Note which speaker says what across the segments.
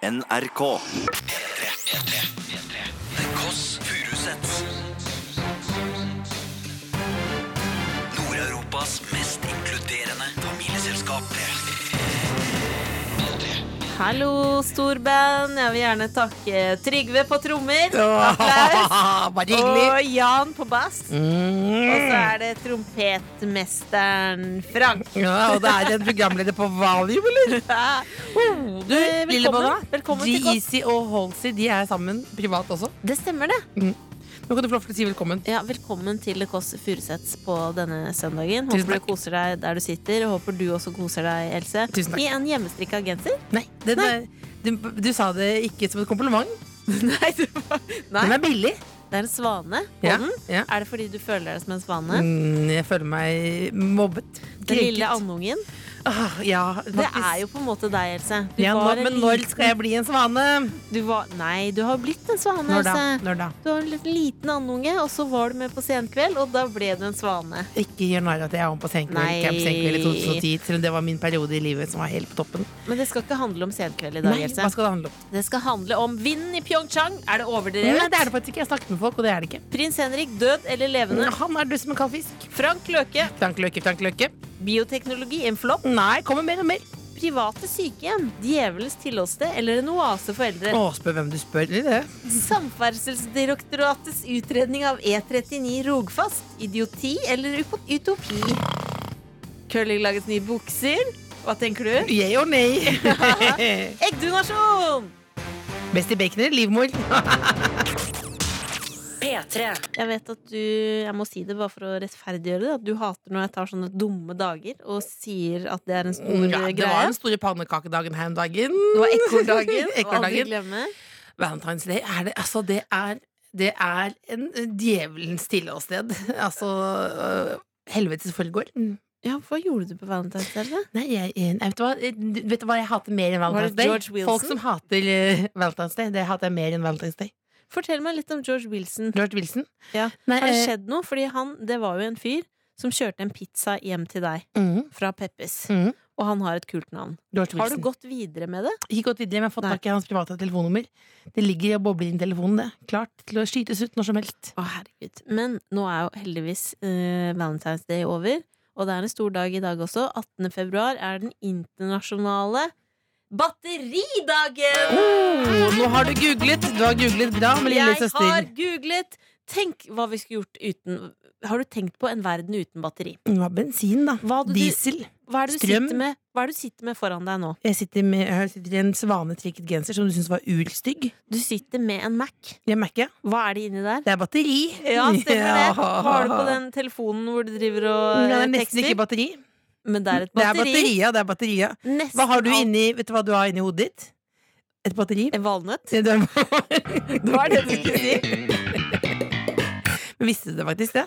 Speaker 1: NRK. The Kåss Furuseths. Nord-Europas mest inkluderende familieselskap.
Speaker 2: Hallo, storband. Jeg vil gjerne takke Trygve på trommer. Applaus.
Speaker 3: Bare hyggelig.
Speaker 2: Og Jan på bass.
Speaker 3: Mm.
Speaker 2: Og så er det trompetmesteren Frank.
Speaker 3: Ja, og det er en programleder på valium, eller?
Speaker 2: Du,
Speaker 3: Lillebolla,
Speaker 2: Eh, velkommen, velkommen til Kåss.
Speaker 3: Jeezy og Halsey de er sammen privat også.
Speaker 2: Det stemmer, det.
Speaker 3: Nå kan du få lov til å si velkommen.
Speaker 2: Ja, Velkommen til Kåss Furuseths på denne søndagen.
Speaker 3: Tusen
Speaker 2: Håper
Speaker 3: takk.
Speaker 2: du koser deg der du sitter, og håper du også koser deg, Else.
Speaker 3: Tusen takk.
Speaker 2: I en hjemmestrikka genser.
Speaker 3: Nei, den Er, den, du sa det ikke som et kompliment.
Speaker 2: Nei, det var-
Speaker 3: Den
Speaker 2: Nei,
Speaker 3: er billig.
Speaker 2: det er en svane på
Speaker 3: Ja,
Speaker 2: den.
Speaker 3: ja.
Speaker 2: Er det fordi du føler deg som en svane?
Speaker 3: Mm, jeg føler meg mobbet.
Speaker 2: Den lille
Speaker 3: Krenket.
Speaker 2: andungen.
Speaker 3: Ah, ja,
Speaker 2: Det er jo på en måte deg, Else. Du
Speaker 3: ja,
Speaker 2: var
Speaker 3: nå,
Speaker 2: en
Speaker 3: Men når
Speaker 2: liten-
Speaker 3: skal jeg bli en svane?
Speaker 2: du var, Nei, du har blitt en svane,
Speaker 3: Når da?
Speaker 2: Else.
Speaker 3: Når da?
Speaker 2: Du var en liten- liten andunge, og så var du med på Senkveld, og da ble du en svane.
Speaker 3: Ikke gjør narr av at jeg er om på
Speaker 2: Nei.
Speaker 3: Senkveld Camp Senkveld i 2010. Selv om det var min periode i livet som var helt på toppen.
Speaker 2: Men det skal ikke handle om Senkveld i dag,
Speaker 3: Nei,
Speaker 2: Else.
Speaker 3: hva skal det handle om?
Speaker 2: Det skal handle om vinden i Pyeongchang. Er det overdrevet?
Speaker 3: Nei, det er det faktisk ikke. Jeg snakket med folk, og det er det ikke.
Speaker 2: Prins Henrik død eller levende?
Speaker 3: Han er død som en kald fisk.
Speaker 2: Frank Løke.
Speaker 3: Frank Løke, Frank Løke.
Speaker 2: Bioteknologi en flopp.
Speaker 3: Nei, kommer mer og mer.
Speaker 2: Private sykehjem. Djevelens tilholdssted eller en oase for eldre.
Speaker 3: Å, spør hvem du spør. eller det.
Speaker 2: Samferdselsdirektoratets utredning av E39 Rogfast. Idioti eller upo- utopi? Curlinglagets nye bukser. Hva tenker du?
Speaker 3: Yeah or nay?
Speaker 2: Eggdonasjon!
Speaker 3: Best i baconet, livmor.
Speaker 2: Jeg vet at du Jeg må si det bare for å rettferdiggjøre det. At du hater når jeg tar sånne dumme dager og sier at det er en stor
Speaker 3: Ja,
Speaker 2: eh,
Speaker 3: det var
Speaker 2: greie.
Speaker 3: den store pannekakedagen her om dagen.
Speaker 2: Det var ekordagen. og aldri
Speaker 3: Ekordagen.
Speaker 2: glemme.
Speaker 3: Valentine's Day. Er det, altså, det er, det er en eh, djevelens tilholdssted. Altså øh, Helvetes foregår.
Speaker 2: Ja, hva gjorde du på Valentine's Day? da?
Speaker 3: Nei, jeg, jeg, vet, du hva, Eh, Du vet du hva jeg hater mer enn
Speaker 2: Var det
Speaker 3: Valentine's Day?
Speaker 2: George Wilson?
Speaker 3: Folk som hater øh, Valentine's Day, det hater jeg mer enn Valentine's Day.
Speaker 2: Fortell meg litt om George Wilson.
Speaker 3: George Wilson?
Speaker 2: Ja.
Speaker 3: Nei,
Speaker 2: Har det
Speaker 3: eh,
Speaker 2: skjedd noe? Fordi han, det var jo en fyr som kjørte en pizza hjem til deg.
Speaker 3: mhm,
Speaker 2: fra Peppes.
Speaker 3: mhm.
Speaker 2: Og han har et kult navn.
Speaker 3: George
Speaker 2: Har
Speaker 3: Wilson.
Speaker 2: du gått videre med det?
Speaker 3: Ikke gått videre, men jeg har fått
Speaker 2: Nei.
Speaker 3: tak i hans private telefonnummer. Det ligger og bobler inn i telefonen, det. Klart til å skytes ut når som helst.
Speaker 2: Å, herregud. Men nå er jo heldigvis eh, Valentine's Day over, og det er en stor dag i dag også. 18. februar er den internasjonale batteridagen!
Speaker 3: Oh, nå har du googlet! Du har googlet bra med lille
Speaker 2: Jeg har
Speaker 3: søster.
Speaker 2: googlet! Tenk hva vi skulle gjort uten Har du tenkt på en verden uten batteri?
Speaker 3: Det var Mm, bensin, da.
Speaker 2: Hva hadde du-
Speaker 3: Diesel.
Speaker 2: Hva er det du,
Speaker 3: Strøm.
Speaker 2: sitter med, hva er det du sitter med foran deg nå?
Speaker 3: Jeg sitter, med, jeg sitter i en svanetrikket genser som du syns var urstygg.
Speaker 2: Du sitter med en Mac.
Speaker 3: Jeg merker jeg.
Speaker 2: Hva er det inni der?
Speaker 3: Det er batteri.
Speaker 2: Ja, stemmer det. Hva har du på
Speaker 3: Ja.
Speaker 2: den telefonen hvor du driver
Speaker 3: Nei,
Speaker 2: og
Speaker 3: Det
Speaker 2: eh,
Speaker 3: er nesten
Speaker 2: tekster?
Speaker 3: ikke batteri.
Speaker 2: Men det er et
Speaker 3: Det er
Speaker 2: batteri.
Speaker 3: batteria. Det er batteria.
Speaker 2: Nesten
Speaker 3: Hva har du
Speaker 2: alt-
Speaker 3: inni Vet du hva du har inni hodet ditt? Et batteri?
Speaker 2: En valnøtt?
Speaker 3: Det er-
Speaker 2: Hva er det du skulle si?
Speaker 3: Men Visste du det faktisk, det?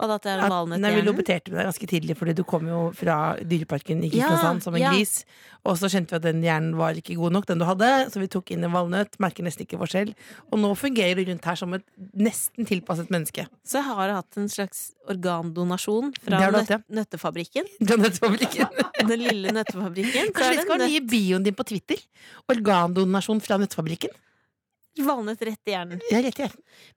Speaker 2: Og at det er en
Speaker 3: at,
Speaker 2: valnøtt
Speaker 3: nei,
Speaker 2: i
Speaker 3: vi
Speaker 2: hjernen?
Speaker 3: lopeterte med deg ganske tidlig, Fordi du kom jo fra Dyreparken i
Speaker 2: Ja,
Speaker 3: Kristiansand som en
Speaker 2: ja.
Speaker 3: gris. Og så skjønte vi at den hjernen var ikke god nok, den du hadde. Så vi tok inn en valnøtt. Merker nesten ikke forskjell. Og nå fungerer du rundt her som et nesten tilpasset menneske.
Speaker 2: Så jeg har hatt en slags organdonasjon
Speaker 3: Det
Speaker 2: fra
Speaker 3: har du hatt,
Speaker 2: nøtt, nøttefabrikken.
Speaker 3: Nøttfabrikken.
Speaker 2: Den lille nøttefabrikken. Så
Speaker 3: Kanskje
Speaker 2: er det
Speaker 3: vi skal ha
Speaker 2: en
Speaker 3: den nye bioen din på Twitter? Organdonasjon fra Nøttfabrikken.
Speaker 2: nøtt- valnøtt rett i hjernen.
Speaker 3: Ja, rett igjen.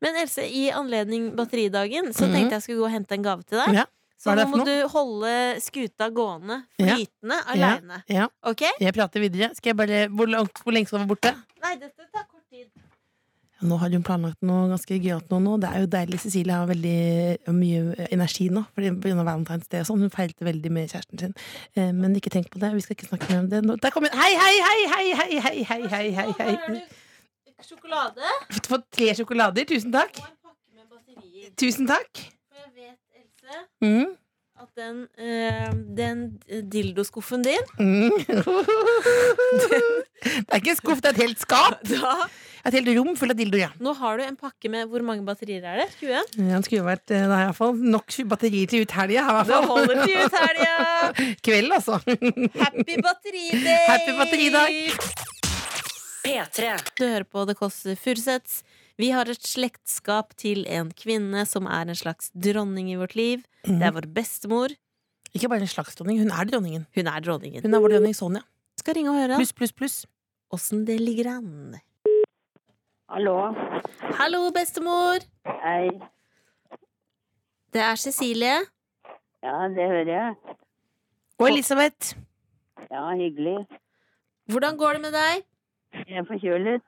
Speaker 2: Men Else, i anledning batteridagen så
Speaker 3: Mhm.
Speaker 2: tenkte jeg skulle gå og hente en gave til deg.
Speaker 3: Ja.
Speaker 2: Så
Speaker 3: hva er
Speaker 2: nå
Speaker 3: det for
Speaker 2: må
Speaker 3: noe?
Speaker 2: du holde skuta gående,
Speaker 3: Ja.
Speaker 2: flytende, aleine.
Speaker 3: Ja,
Speaker 2: Ok?
Speaker 3: jeg prater videre. Skal jeg bare, hvor, langt, hvor lenge skal du være borte?
Speaker 2: Nei, dette tar kort tid.
Speaker 3: Ja, Nå har hun planlagt noe ganske gøyalt nå, nå. Det er jo deilig. Cecilie har veldig eh, mye energi nå. Fordi på grunn av Valentine's Day og sånn. Hun feilte veldig med kjæresten sin. Eh, Men ikke tenk på det. Vi skal ikke snakke mer om det. Nå- Der kommer Hei, hei, hei, hei, hei, hei, hei, hei, hei, hei.
Speaker 2: Her har du Sjokolade
Speaker 3: Fått- Fått tre sjokolader. Tusen takk.
Speaker 2: og en pakke med batterier.
Speaker 3: Tusen takk.
Speaker 2: For jeg vet, Else
Speaker 3: Mm.
Speaker 2: at den, eh, den dildoskuffen din
Speaker 3: Mm. Det er ikke en skuff, det er et helt skap.
Speaker 2: da,
Speaker 3: Et helt rom fullt av dildoer. Ja.
Speaker 2: Nå har du en pakke med Hvor mange batterier er det? 20?
Speaker 3: Ja, Det skulle jo vært eh, nei, i hvert fall nok batterier til ut helga. i hvert
Speaker 2: Da
Speaker 3: fall.
Speaker 2: holder det ut helga!
Speaker 3: Kveld, altså.
Speaker 2: Happy batteridag!
Speaker 3: Happy batteridag!
Speaker 2: Du hører på Det Kåss Furuseths. Vi har et slektskap til en kvinne som er en slags dronning i vårt liv. Det er vår bestemor.
Speaker 3: Ikke bare en slags dronning, hun er dronningen.
Speaker 2: Hun er dronningen.
Speaker 3: Hun er vår dronning Sonja.
Speaker 2: Skal ringe og høre.
Speaker 3: Pluss, pluss, pluss.
Speaker 2: åssen det ligger an.
Speaker 4: Hallo.
Speaker 2: Hallo, bestemor!
Speaker 4: Hei.
Speaker 2: Det er Cecilie.
Speaker 4: Ja, det hører jeg.
Speaker 3: Og Elisabeth!
Speaker 4: Ja, hyggelig.
Speaker 2: Hvordan går det med deg?
Speaker 4: Jeg er forkjølet.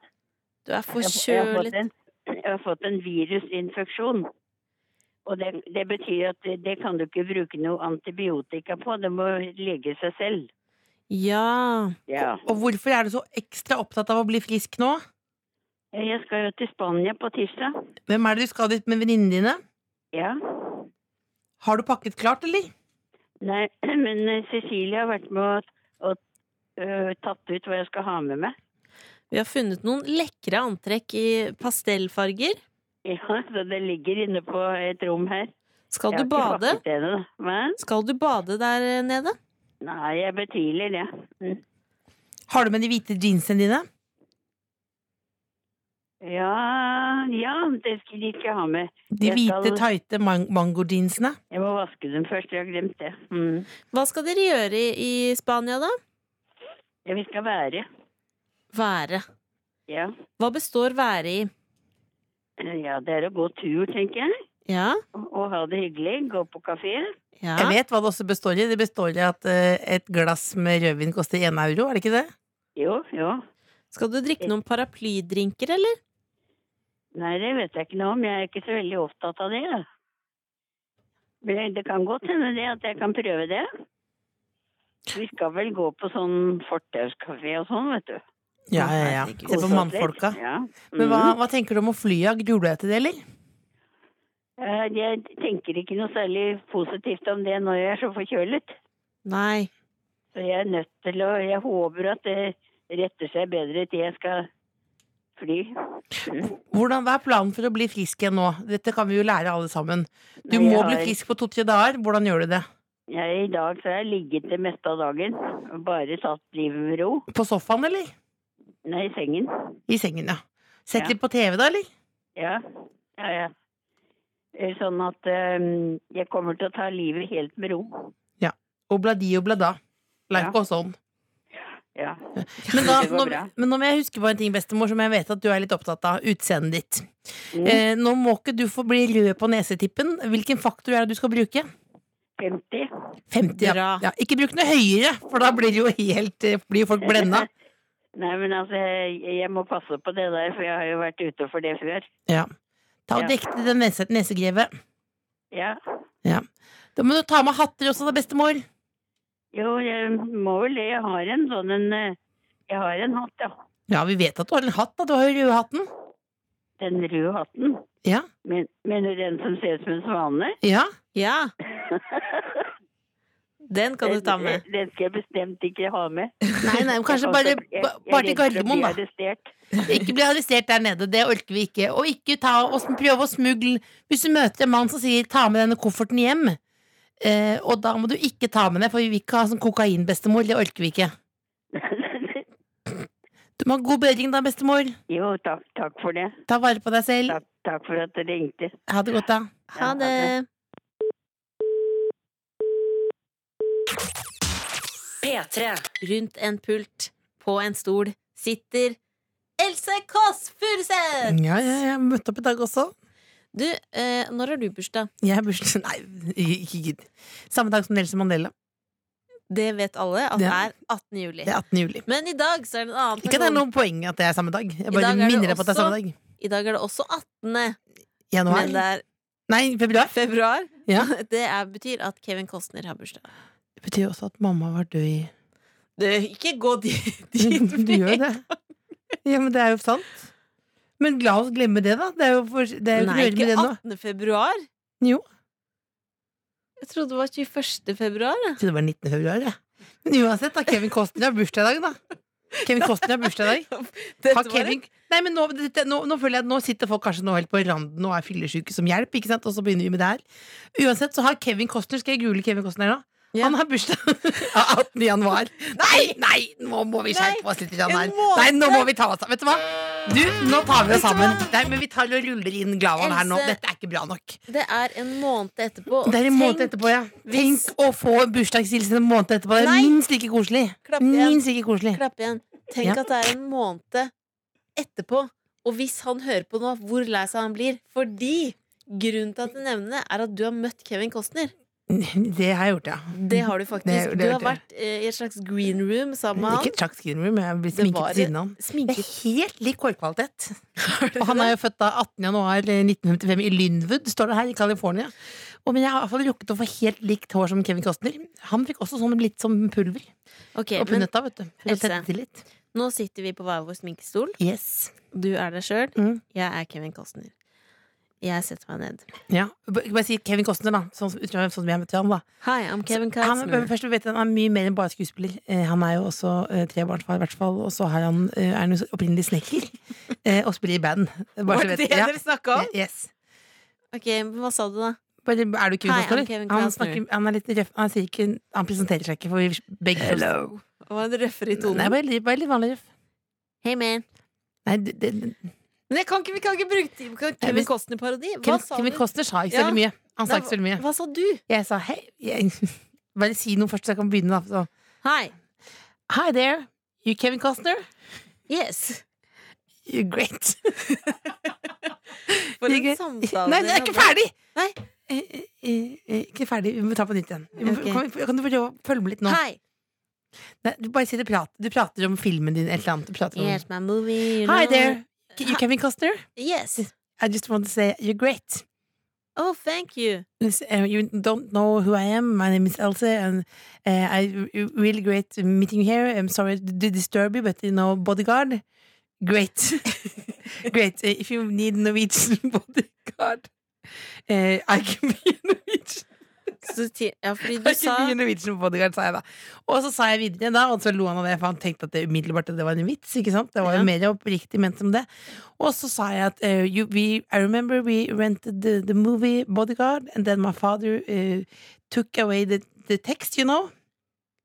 Speaker 2: Du er
Speaker 4: Jeg, jeg, har fått
Speaker 2: forkjølet.
Speaker 4: en, jeg har fått en virusinfeksjon. Og det, det betyr at det, det kan du ikke bruke noe antibiotika på. Det må lege seg selv.
Speaker 2: Ja.
Speaker 4: Ja.
Speaker 3: Og hvorfor er du så ekstra opptatt av å bli frisk nå?
Speaker 4: Jeg skal jo til Spania på tirsdag.
Speaker 3: Hvem er det du skal dit med venninnene dine?
Speaker 4: Ja.
Speaker 3: Har du pakket klart, eller?
Speaker 4: Nei, men eh, Cecilie har vært med og, og øh, tatt ut hva jeg skal ha med meg.
Speaker 2: Vi har funnet noen lekre antrekk i pastellfarger.
Speaker 4: Ja, så det ligger inne på et rom her.
Speaker 2: Skal
Speaker 4: Jeg
Speaker 2: du
Speaker 4: har ikke
Speaker 2: bade?
Speaker 4: pakket det ennå, da. Men
Speaker 2: Skal du bade der nede?
Speaker 4: nei, jeg betviler det. Mm.
Speaker 3: Har du med de hvite jeansene dine?
Speaker 4: Ja, ja, det skulle de ikke ha med.
Speaker 3: De
Speaker 4: Jeg skal-
Speaker 3: hvite, tighte man mango-jeansene?
Speaker 4: Jeg må vaske dem først, jeg har glemt det. Mm.
Speaker 2: Hva skal dere gjøre i, i Spania, da?
Speaker 4: Ja, vi skal være.
Speaker 2: Være.
Speaker 4: Ja.
Speaker 2: Hva består være i?
Speaker 4: ja, det er å gå tur, tenker jeg.
Speaker 2: Ja,
Speaker 4: Og og ha det hyggelig. Gå på kafé.
Speaker 2: ja.
Speaker 3: Jeg vet hva det også består i. Det består i at eh, et glass med rødvin koster én euro, er det ikke det?
Speaker 4: Jo, jo.
Speaker 2: Skal du drikke noen paraplydrinker, eller?
Speaker 4: Nei, det vet jeg ikke noe om. Jeg er ikke så veldig opptatt av det. da. Men jeg- det kan godt hende det at jeg kan prøve det. Vi skal vel gå på sånn fortauskafé og sånn, vet du.
Speaker 3: Ja, ja, ja.
Speaker 2: Herregud.
Speaker 3: Se på
Speaker 4: Kose oss litt.
Speaker 3: mannfolka.
Speaker 4: Ja.
Speaker 3: Men hva,
Speaker 4: Mhm.
Speaker 3: hva tenker du om å fly av? Gruer du deg til det, eller?
Speaker 4: Eh, Jeg tenker ikke noe særlig positivt om det når jeg er så forkjølet.
Speaker 2: Nei.
Speaker 4: Så jeg er nødt til å Jeg håper at det retter seg bedre til jeg skal fly.
Speaker 3: Hvordan, hva er planen for å bli frisk igjen nå? Dette kan vi jo lære alle sammen. Du
Speaker 4: Nei,
Speaker 3: må
Speaker 4: jeg
Speaker 3: bli
Speaker 4: har-
Speaker 3: frisk på to-tre dager. Hvordan gjør du det?
Speaker 4: Jeg, I dag så har jeg ligget det meste av dagen og bare tatt livet med ro.
Speaker 3: På sofaen, eller?
Speaker 4: Nei, i sengen.
Speaker 3: I sengen, ja. Sett
Speaker 4: Ja.
Speaker 3: litt på TV, da, eller?
Speaker 4: Ja. ja, ja. Eh, Sånn at eh, jeg kommer til å ta livet helt med ro.
Speaker 3: Obladi oblada. Like
Speaker 4: Ja.
Speaker 3: og sånn.
Speaker 4: Ja.
Speaker 3: Men, da,
Speaker 4: det går
Speaker 3: nå,
Speaker 4: bra.
Speaker 3: men nå må jeg huske på en ting, bestemor, som jeg vet at du er litt opptatt av. Utseendet ditt.
Speaker 4: Mm.
Speaker 3: Eh, nå må ikke du få bli rød på nesetippen. Hvilken faktor er det du skal bruke?
Speaker 4: 50.
Speaker 3: 50, ja.
Speaker 2: Bra.
Speaker 3: ja. Ikke bruk noe høyere, for da blir jo helt eh, Blir folk blenda.
Speaker 4: Nei, men altså, jeg, jeg må passe på det der, for jeg har jo vært ute for det før.
Speaker 3: Ja. Ta og
Speaker 4: Ja.
Speaker 3: dekk til den nese, nesegrevet.
Speaker 4: Ja.
Speaker 3: Ja. Da må du ta med hatter også, da, bestemor.
Speaker 4: Jo, jeg må vel det. Jeg har en sånn en eh, Jeg har en hatt, ja.
Speaker 3: Ja, vi vet at du har en hatt, da. Du har jo rødhatten.
Speaker 4: Den røde hatten.
Speaker 3: Ja.
Speaker 4: Men, mener du den som ser ut som en svane?
Speaker 3: ja.
Speaker 2: Ja. Den kan du ta
Speaker 4: Den, eh,
Speaker 2: med.
Speaker 4: den skal jeg bestemt ikke ha med.
Speaker 3: Nei, nei, men kanskje
Speaker 4: Jeg
Speaker 3: bare,
Speaker 4: jeg-
Speaker 3: ba-
Speaker 4: jeg er
Speaker 3: bare til
Speaker 4: redd for å bli
Speaker 3: Gardermoen, da.
Speaker 4: arrestert.
Speaker 3: Ikke bli arrestert der nede, det orker vi ikke. Og ikke ta og sm- prøve å smugle Hvis du møter en mann som sier 'ta med denne kofferten hjem', eh, og da må du ikke ta med det, for vi vil ikke ha sånn kokain, bestemor. Det orker vi ikke. Du må ha god bedring da, bestemor.
Speaker 4: jo, takk, takk for det.
Speaker 3: Ta vare på deg selv.
Speaker 4: Takk, takk for at du ringte.
Speaker 3: Ha det godt, da.
Speaker 2: Ha det. Rundt en pult, på en stol, sitter Else Kåss Furuseth!
Speaker 3: Ja, ja, jeg møtte opp i dag også.
Speaker 2: Du, eh, når har du bursdag?
Speaker 3: Jeg har bursdag Nei, ikke gidd. Samme dag som Nelson Mandela.
Speaker 2: Det vet alle at det
Speaker 3: Ja.
Speaker 2: er 18. juli.
Speaker 3: Det er 18. juli.
Speaker 2: Men i dag så er det en annen
Speaker 3: Ikke at det er
Speaker 2: person.
Speaker 3: noe poeng at det er samme dag. Jeg bare
Speaker 2: dag er det
Speaker 3: minner deg på at det er
Speaker 2: også-
Speaker 3: samme dag.
Speaker 2: I dag er det også 18. Men det
Speaker 3: Januar?
Speaker 2: er
Speaker 3: Nei, februar.
Speaker 2: februar.
Speaker 3: Ja.
Speaker 2: Det er, betyr at Kevin Costner har bursdag.
Speaker 3: Det betyr også at mamma har vært død i
Speaker 2: Du, ikke gå dit.
Speaker 3: Du, du gjør jo det. Ja, men det er jo sant. Men la oss glemme det, da. Det er jo, for, det er jo
Speaker 2: Nei,
Speaker 3: ikke noe å gjøre med
Speaker 2: ikke
Speaker 3: det nå.
Speaker 2: 18. februar.
Speaker 3: Jo.
Speaker 2: Jeg trodde det var 21. februar. jeg.
Speaker 3: Jeg trodde det var 19. februar, jeg. Men uansett, da. Kevin Costner har bursdag i dag, da. Kevin Costner har bursdag i dag.
Speaker 2: Dette
Speaker 3: Har
Speaker 2: var
Speaker 3: Kevin... Nei, men nå, dette, nå, nå føler jeg at nå sitter folk kanskje nå helt på randen og er fyllesyke som hjelp, ikke sant? og så begynner vi med det her. Uansett så har Kevin Costner Skal jeg google Kevin Costner nå?
Speaker 2: Ja.
Speaker 3: Han har bursdag 18. januar. Nei, nei, nå må vi
Speaker 2: Nei,
Speaker 3: skjerpe oss litt. Jan, her.
Speaker 2: en måned.
Speaker 3: Nei, nå må vi ta oss sammen. Vet du hva? Du, nå tar vi oss sammen. Nei, men vi tar og ruller inn Glavan her nå.
Speaker 2: Else.
Speaker 3: Dette er ikke bra nok.
Speaker 2: en- Det er en måned etterpå. og
Speaker 3: Det er en måned
Speaker 2: tenk,
Speaker 3: etterpå, ja.
Speaker 2: hvis-
Speaker 3: Tenk å få bursdagshilsen en måned etterpå. Det er
Speaker 2: Nei.
Speaker 3: minst like koselig.
Speaker 2: Klapp igjen.
Speaker 3: Minst like koselig.
Speaker 2: Klapp igjen. Tenk
Speaker 3: Ja.
Speaker 2: at det er en måned etterpå. Og hvis han hører på nå, hvor lei seg han blir. Fordi grunnen til at jeg nevner det, er at du har møtt Kevin Costner.
Speaker 3: Det har jeg gjort, ja.
Speaker 2: Det har du faktisk.
Speaker 3: Det- det
Speaker 2: du har
Speaker 3: har jeg.
Speaker 2: vært eh, i et slags green room sammen med
Speaker 3: Ikke
Speaker 2: han.
Speaker 3: et slags green room, men jeg blir
Speaker 2: Det
Speaker 3: sminket
Speaker 2: var-
Speaker 3: ved siden av han. Det er
Speaker 2: Sminket.
Speaker 3: helt lik hårkvalitet. Og han er jo født da 18. januar 1955 i Lynwood, står det her, i California. Og men jeg har i hvert fall rukket å få helt likt hår som Kevin Costner. Han fikk også sånn litt som pulver
Speaker 2: Ok,
Speaker 3: og
Speaker 2: men
Speaker 3: punnetta, vet du. For å
Speaker 2: Else.
Speaker 3: tette til litt.
Speaker 2: nå sitter vi på hver vår sminkestol.
Speaker 3: Yes.
Speaker 2: Du er deg sjøl.
Speaker 3: Mm.
Speaker 2: Jeg er Kevin Costner. Jeg setter meg ned.
Speaker 3: Ja. Bare bare si Kevin Costner, da. Sånn, som- sånn som jeg møtte ham, da.
Speaker 2: Hi, I'm Kevin
Speaker 3: Han, men
Speaker 2: Costner.
Speaker 3: først, du vet, han er mye mer enn bare skuespiller. Eh, han er jo også eh, trebarnsfar, i hvert fall. Og så har han, eh, er han jo så- opprinnelig snekker. Eh, og spiller i band. Bare så
Speaker 2: Var det
Speaker 3: vet-
Speaker 2: det
Speaker 3: ja.
Speaker 2: dere snakka om?
Speaker 3: Eh, Yes.
Speaker 2: Ok, men Hva sa du, da?
Speaker 3: Bare, er du
Speaker 2: Hi,
Speaker 3: Kevin
Speaker 2: I'm
Speaker 3: Costner?
Speaker 2: Kevin
Speaker 3: Han,
Speaker 2: Costner.
Speaker 3: snakker, han er litt røff. Han, sier ikke, han presenterer seg ikke for vi begge.
Speaker 2: Var det røffere i
Speaker 3: Nei,
Speaker 2: tonen?
Speaker 3: bare, litt- bare litt vanlig røff.
Speaker 2: Hey, man.
Speaker 3: Nei, det, det,
Speaker 2: Men jeg kan ikke, vi kan ikke bruke ti- kan
Speaker 3: Nei,
Speaker 2: Kevin
Speaker 3: hvis-
Speaker 2: Costner-parodi. Hva
Speaker 3: Kevin,
Speaker 2: sa
Speaker 3: Kevin
Speaker 2: du?
Speaker 3: Costner sa ikke så
Speaker 2: Ja.
Speaker 3: veldig mye. Han sa
Speaker 2: Nei,
Speaker 3: ikke så veldig mye.
Speaker 2: Hva sa du?
Speaker 3: Jeg sa hei. Jeg, bare si noe først, så jeg kan begynne. Da. Så,
Speaker 2: Hi.
Speaker 3: Hi there, you Kevin Costner?
Speaker 2: Yes.
Speaker 3: You're great.
Speaker 2: For en
Speaker 3: Ikke-
Speaker 2: samtale.
Speaker 3: Nei, det er ikke ferdig!
Speaker 2: Nei.
Speaker 3: Eh, eh, eh, Ikke ferdig, vi må ta på nytt igjen. Vi må,
Speaker 2: Ok.
Speaker 3: kan, vi- kan du prøve å følge med litt nå?
Speaker 2: Hi.
Speaker 3: Nei, du bare sier det prat. Du prater om filmen din eller annet. Du prater om
Speaker 2: Here's my movie. you
Speaker 3: Hi
Speaker 2: know.
Speaker 3: there, you Kevin Costner?
Speaker 2: Yes.
Speaker 3: I just want to say you're great.
Speaker 2: Oh, thank you.
Speaker 3: Listen, uh, You don't know who I am. My name is Else, and uh, I really great meeting you here. I'm sorry to disturb you, but you know, bodyguard, great, great. Uh, If you need Norwegian bodyguard, uh, I can be a Norwegian.
Speaker 2: Så, ti- ja, fordi
Speaker 3: Det
Speaker 2: du
Speaker 3: er ikke
Speaker 2: sa
Speaker 3: mye Norwegian bodyguard, sa jeg da. Og så sa jeg videre, da, og så lo han av det, for han tenkte at det umiddelbart at det var en vits. ikke sant? Det var
Speaker 2: Ja.
Speaker 3: jo mer oppriktig ment som det. Og så sa jeg at eh, you, we, I remember we rented the, the movie Bodyguard, and then my father eh, took away the, the text, you know.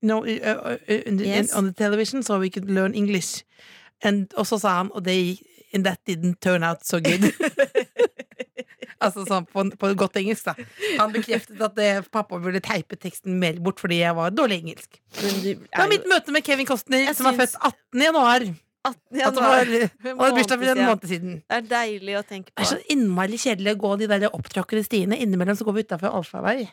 Speaker 3: No, eh, eh, eh, in the-
Speaker 2: Yes.
Speaker 3: on the television, so we could learn English. And, og så sa han, og det gikk And that didn't turn out so good. altså sånn på, på godt engelsk, da. Han bekreftet at eh, pappa burde teipe teksten mer bort fordi jeg var dårlig engelsk.
Speaker 2: Men du
Speaker 3: Det var
Speaker 2: er
Speaker 3: mitt
Speaker 2: jo
Speaker 3: møte med Kevin Costner,
Speaker 2: Jeg
Speaker 3: som er
Speaker 2: syns-
Speaker 3: født 18. januar.
Speaker 2: 18
Speaker 3: At han var,
Speaker 2: januar.
Speaker 3: han hadde bursdag for en
Speaker 2: måned
Speaker 3: måned siden.
Speaker 2: Det er deilig å tenke
Speaker 3: Det er
Speaker 2: på.
Speaker 3: så innmari kjedelig å gå de der opptråkkede stiene. Innimellom så går vi utafor allfarvei.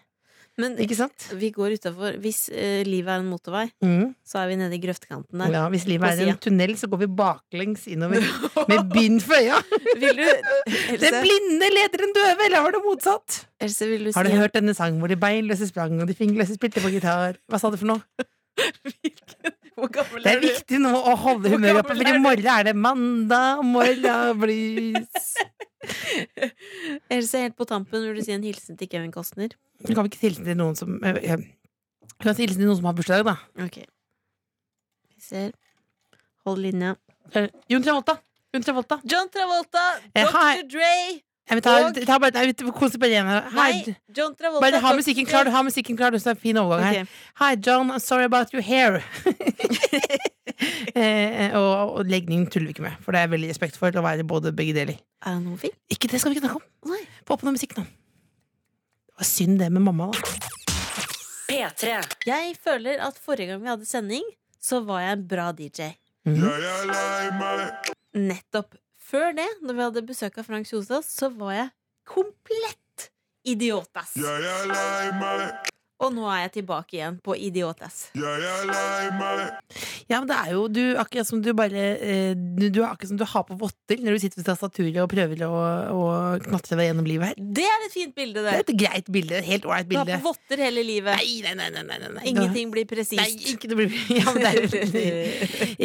Speaker 2: Men
Speaker 3: Ikke sant?
Speaker 2: vi går utafor. Hvis eh, livet er en motorvei,
Speaker 3: Mm.
Speaker 2: så er vi nede i grøftkanten der.
Speaker 3: Ja, hvis
Speaker 2: På
Speaker 3: livet er
Speaker 2: sida.
Speaker 3: en tunnel, så går vi baklengs innover med bind for øya.
Speaker 2: Vil du
Speaker 3: Den
Speaker 2: Else,
Speaker 3: blinde leder den døve! Eller var det motsatt?
Speaker 2: Else vil du si
Speaker 3: Har du
Speaker 2: en-
Speaker 3: hørt denne sangen hvor de beinløse sprang og de fingerløse spilte på gitar? Hva sa du for noe?
Speaker 2: Hvor gammel
Speaker 3: Det er
Speaker 2: er du?
Speaker 3: viktig nå å holde
Speaker 2: Hvor
Speaker 3: humøret oppe,
Speaker 2: gammel
Speaker 3: for i
Speaker 2: er du?
Speaker 3: morgen er det mandag, morgen blues.
Speaker 2: Else, helt på tampen, vil du si en hilsen til Kevin Costner?
Speaker 3: Du kan vi ikke hilse til noen som eh, eh, Du kan hilse til noen som har bursdag, da.
Speaker 2: Ok. Vi ser. Hold linja.
Speaker 3: Eh, Jon Travolta. Jon Travolta.
Speaker 2: John Travolta,
Speaker 3: Eh, hei.
Speaker 2: Dr. Dre
Speaker 3: Jeg vil ta,
Speaker 2: Og-
Speaker 3: ta bare, nei, vi konser bare igjen.
Speaker 2: Nei,
Speaker 3: Hi.
Speaker 2: John Travolta
Speaker 3: Bare ha
Speaker 2: Dr.
Speaker 3: musikken
Speaker 2: Dre.
Speaker 3: klar, du har musikken klar. Du så er det en fin overgang her.
Speaker 2: Ok.
Speaker 3: Hi, John. I'm sorry about your hair. eh, og, og legningen tuller vi ikke med, for det er veldig respekt for å være både begge deler.
Speaker 2: Er han homofil?
Speaker 3: Ikke det skal vi ikke snakke om.
Speaker 2: Nei.
Speaker 3: Få på noe musikk nå. Det var synd det med mamma, da.
Speaker 5: P3.
Speaker 2: Jeg føler at forrige gang vi hadde sending, så var jeg en bra DJ. Nettopp. Før det, når vi hadde besøk av Frank Kjosås, så var jeg komplett idiotass. Og nå er jeg tilbake igjen på idiotass.
Speaker 3: Ja, men det er jo du, akkurat som du bare eh, du, du er akkurat som du har på votter når du sitter ved tastaturet og prøver å, å knatre deg gjennom livet her.
Speaker 2: Det er et fint bilde,
Speaker 3: Det er
Speaker 2: det.
Speaker 3: et greit bilde. Et helt ålreit
Speaker 2: Du har
Speaker 3: bilde.
Speaker 2: på votter hele livet.
Speaker 3: Nei, nei, nei, nei, nei, nei, nei.
Speaker 2: Ingenting blir
Speaker 3: Nei,
Speaker 2: presist.
Speaker 3: ikke det blir ja, men det er,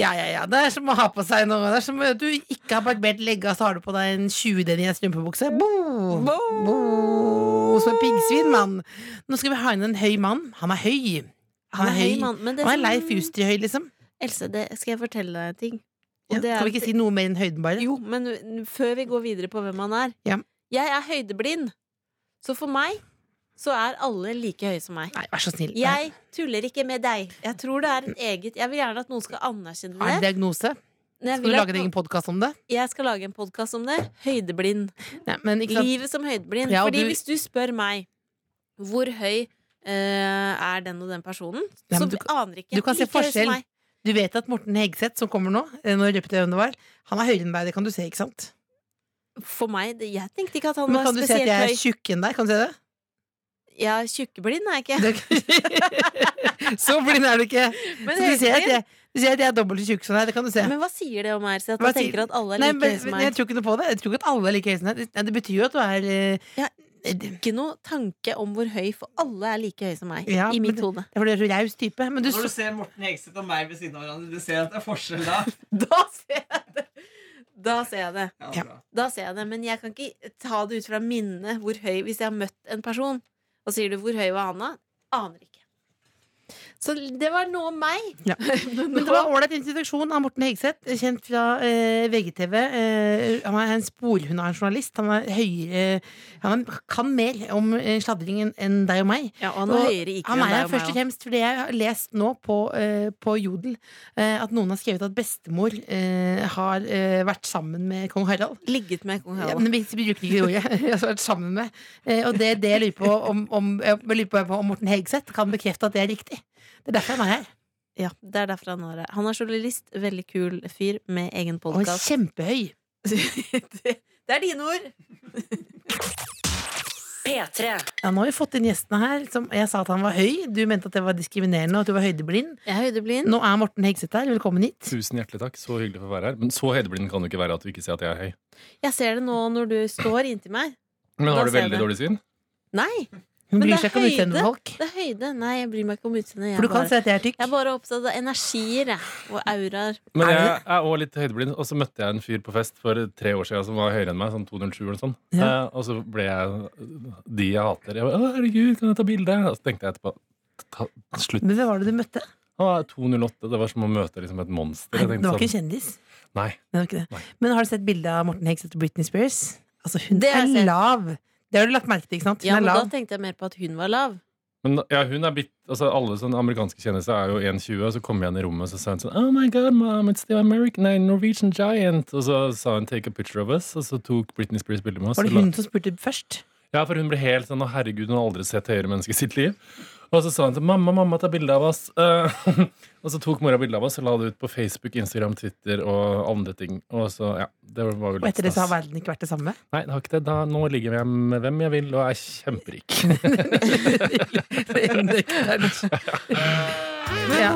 Speaker 3: ja, ja, ja. Det er som å ha på seg noe. Det er som du ikke har barbert legga, så har du på deg en 20-del i en strømpebukse. Bo! Bo! Som et piggsvin, mann. Nå skal vi ha inn en høy mann. Han er høy.
Speaker 2: Han er høy mann. Men det
Speaker 3: Han er
Speaker 2: som-
Speaker 3: Leif Justri-høy, liksom.
Speaker 2: Else, det skal jeg fortelle deg en ting. Og
Speaker 3: Ja,
Speaker 2: det er
Speaker 3: kan vi
Speaker 2: at-
Speaker 3: ikke si noe mer enn høyden, bare?
Speaker 2: Jo, men n- før vi går videre på hvem han er
Speaker 3: Ja.
Speaker 2: Jeg er høydeblind. Så for meg så er alle like høye som meg.
Speaker 3: Nei, vær så snill.
Speaker 2: Jeg tuller ikke med deg. Jeg tror det er et eget Jeg vil gjerne at noen skal anerkjenne
Speaker 3: Har du en
Speaker 2: det.
Speaker 3: diagnose?
Speaker 2: Men Jeg,
Speaker 3: Skal
Speaker 2: vil
Speaker 3: du
Speaker 2: at
Speaker 3: lage en
Speaker 2: no-
Speaker 3: egen podkast om det?
Speaker 2: jeg skal lage en podkast om det. Høydeblind.
Speaker 3: Nei, men ikke sant.
Speaker 2: Livet som høydeblind.
Speaker 3: Ja, og
Speaker 2: Fordi
Speaker 3: du-
Speaker 2: hvis du spør meg hvor høy eh, er den og den personen,
Speaker 3: Ja,
Speaker 2: så
Speaker 3: men du
Speaker 2: aner ikke
Speaker 3: du kan se
Speaker 2: like høy som
Speaker 3: forskjell.
Speaker 2: meg.
Speaker 3: Du vet at Morten Hegseth, som kommer nå, eh, nå røpet jeg hvem det var, han er høyere enn deg, det kan du se, ikke sant?
Speaker 2: For meg, det- jeg tenkte ikke at han
Speaker 3: Men
Speaker 2: var
Speaker 3: kan du se at
Speaker 2: spesielt
Speaker 3: jeg
Speaker 2: høy.
Speaker 3: er tjukk enn deg? Kan du se det?
Speaker 2: Ja, tjukkeblind er jeg ikke.
Speaker 3: Det- Så blind er du ikke.
Speaker 2: Men,
Speaker 3: Så du ser at
Speaker 2: høyreblind?
Speaker 3: jeg, du ser at jeg er dobbelt så tjukk som deg, det kan du se.
Speaker 2: men hva sier det om Erse? At
Speaker 3: Hva
Speaker 2: han
Speaker 3: sier-
Speaker 2: tenker at alle er
Speaker 3: Nei,
Speaker 2: like
Speaker 3: men,
Speaker 2: høye som
Speaker 3: men
Speaker 2: meg?
Speaker 3: jeg tror ikke noe på det. Jeg tror ikke at alle er like høye som deg. Nei, Det betyr jo at du er eh,
Speaker 2: Ja.
Speaker 3: det-
Speaker 2: Ikke noe tanke om hvor høy, for alle er like høye som meg.
Speaker 3: Ja,
Speaker 2: I
Speaker 3: men
Speaker 2: mitt
Speaker 3: det-
Speaker 2: hode.
Speaker 3: Det er fordi du er så raus type. Men du,
Speaker 6: Når du
Speaker 3: så-
Speaker 6: ser Morten Hegseth og meg ved siden av hverandre, du ser at det er forskjell da.
Speaker 2: Da ser jeg det! Da ser jeg det.
Speaker 3: Ja.
Speaker 6: Ja, bra.
Speaker 2: Da ser jeg det, men jeg kan ikke ta det ut fra minnet hvor høy Hvis jeg har møtt en person, og sier du 'hvor høy var Anna', aner ikke. Så det var noe om meg.
Speaker 3: Ja.
Speaker 2: Men
Speaker 3: men det var ålreit introduksjon av Morten Hegseth, kjent fra eh, VGTV. Eh, han er en sporhund av en journalist. Han, er høyere, han er- kan mer om eh, sladring enn- enn deg og meg.
Speaker 2: ja, og han har
Speaker 3: Og
Speaker 2: høyere IQ
Speaker 3: Han
Speaker 2: enn
Speaker 3: er
Speaker 2: deg
Speaker 3: her
Speaker 2: og
Speaker 3: først og
Speaker 2: meg. også.
Speaker 3: fremst fordi jeg har lest nå på, eh, på Jodel eh, at noen har skrevet at bestemor eh, har eh, vært sammen med kong Harald.
Speaker 2: Ligget med kong
Speaker 3: Ja,
Speaker 2: Harald.
Speaker 3: men vi bruker ikke det ordet. Jeg har vært sammen med. Eh, Og det, det jeg lurer på om, om, jeg lurer på om Morten Hegseth kan bekrefte at det er riktig. Det er derfor han er her.
Speaker 2: Ja, det er derfor han har det. Han er journalist, veldig kul fyr med egen
Speaker 3: Og
Speaker 2: podkast.
Speaker 3: kjempehøy.
Speaker 2: det, det er dine ord!
Speaker 5: P3.
Speaker 3: Ja, nå har vi fått inn gjestene her. Som jeg sa at han var høy. Du mente at det var diskriminerende og at du var høydeblind.
Speaker 2: Jeg er høydeblind.
Speaker 3: Nå er Morten Hegseth her. Velkommen hit.
Speaker 7: Tusen hjertelig takk. Så hyggelig for å være her. Men så høydeblind kan du ikke være at du ikke ser at jeg er høy.
Speaker 2: Jeg ser det nå når du står inntil meg.
Speaker 7: Men
Speaker 2: Da
Speaker 7: har du
Speaker 2: ser
Speaker 7: veldig
Speaker 2: jeg det.
Speaker 7: dårlig syn?
Speaker 2: Nei,
Speaker 3: Hun
Speaker 2: Men
Speaker 3: bryr
Speaker 2: det er
Speaker 3: seg ikke om utseendet til folk.
Speaker 2: det er høyde. Nei, jeg bryr meg ikke om utseendet.
Speaker 3: For
Speaker 2: Jeg,
Speaker 3: du kan
Speaker 2: bare-
Speaker 3: si at jeg er tykk.
Speaker 2: jeg er bare opptatt av energier jeg, og auraer.
Speaker 7: Men
Speaker 3: Er du
Speaker 7: jeg er òg litt høydeblind. Og så møtte jeg en fyr på fest for tre år siden som var høyere enn meg. Sånn 207 eller sånn.
Speaker 3: Ja.
Speaker 7: Eh, og så ble jeg de jeg hater. Jeg bare, Å, herregud, kan jeg ta bilde? Og så tenkte jeg etterpå ta, Slutt.
Speaker 3: Men hvem var det du møtte?
Speaker 7: Han er 208. Det var som å møte liksom, et monster.
Speaker 3: Nei,
Speaker 7: Jeg
Speaker 3: det
Speaker 7: tenkte
Speaker 3: var ikke en
Speaker 7: sånn,
Speaker 3: kjendis.
Speaker 7: nei.
Speaker 3: Nei, det var ikke det.
Speaker 7: Nei.
Speaker 3: Men har du sett bildet av Morten Hegseth og Britney Spears? Altså, hun
Speaker 2: Det har
Speaker 3: er
Speaker 2: jeg sett.
Speaker 3: lav. Det har du lagt merke til, ikke sant? Hun
Speaker 2: Ja,
Speaker 3: er
Speaker 2: men da
Speaker 3: lav.
Speaker 2: tenkte jeg mer på at hun var lav.
Speaker 7: Men da- ja, hun er bitt, altså, alle sånne amerikanske kjendiser er jo 1,20, og så kom jeg inn i rommet og så sa hun sånn Oh my god, mom, it's the American, nei, Norwegian giant. Og så sa hun 'take a picture of us', og så tok Britney Spears bilde med oss.
Speaker 3: Var det
Speaker 7: og la-
Speaker 3: hun som spurte først?
Speaker 7: Ja, for hun ble helt sånn 'Å, herregud, hun har aldri sett høyere menneske i sitt liv'. Og så sa hun til mamma, mamma, ta bilde av oss. Eh, og så tok mora bilde av oss og la det ut på Facebook, Instagram, Twitter og andre ting. Og så, ja, det var jo
Speaker 3: Og
Speaker 7: litt
Speaker 3: etter det så har
Speaker 7: stas.
Speaker 3: verden ikke vært det samme.
Speaker 7: Nei, det har ikke det. Da, nå ligger jeg med hvem jeg vil, og er kjemperik.
Speaker 3: ja.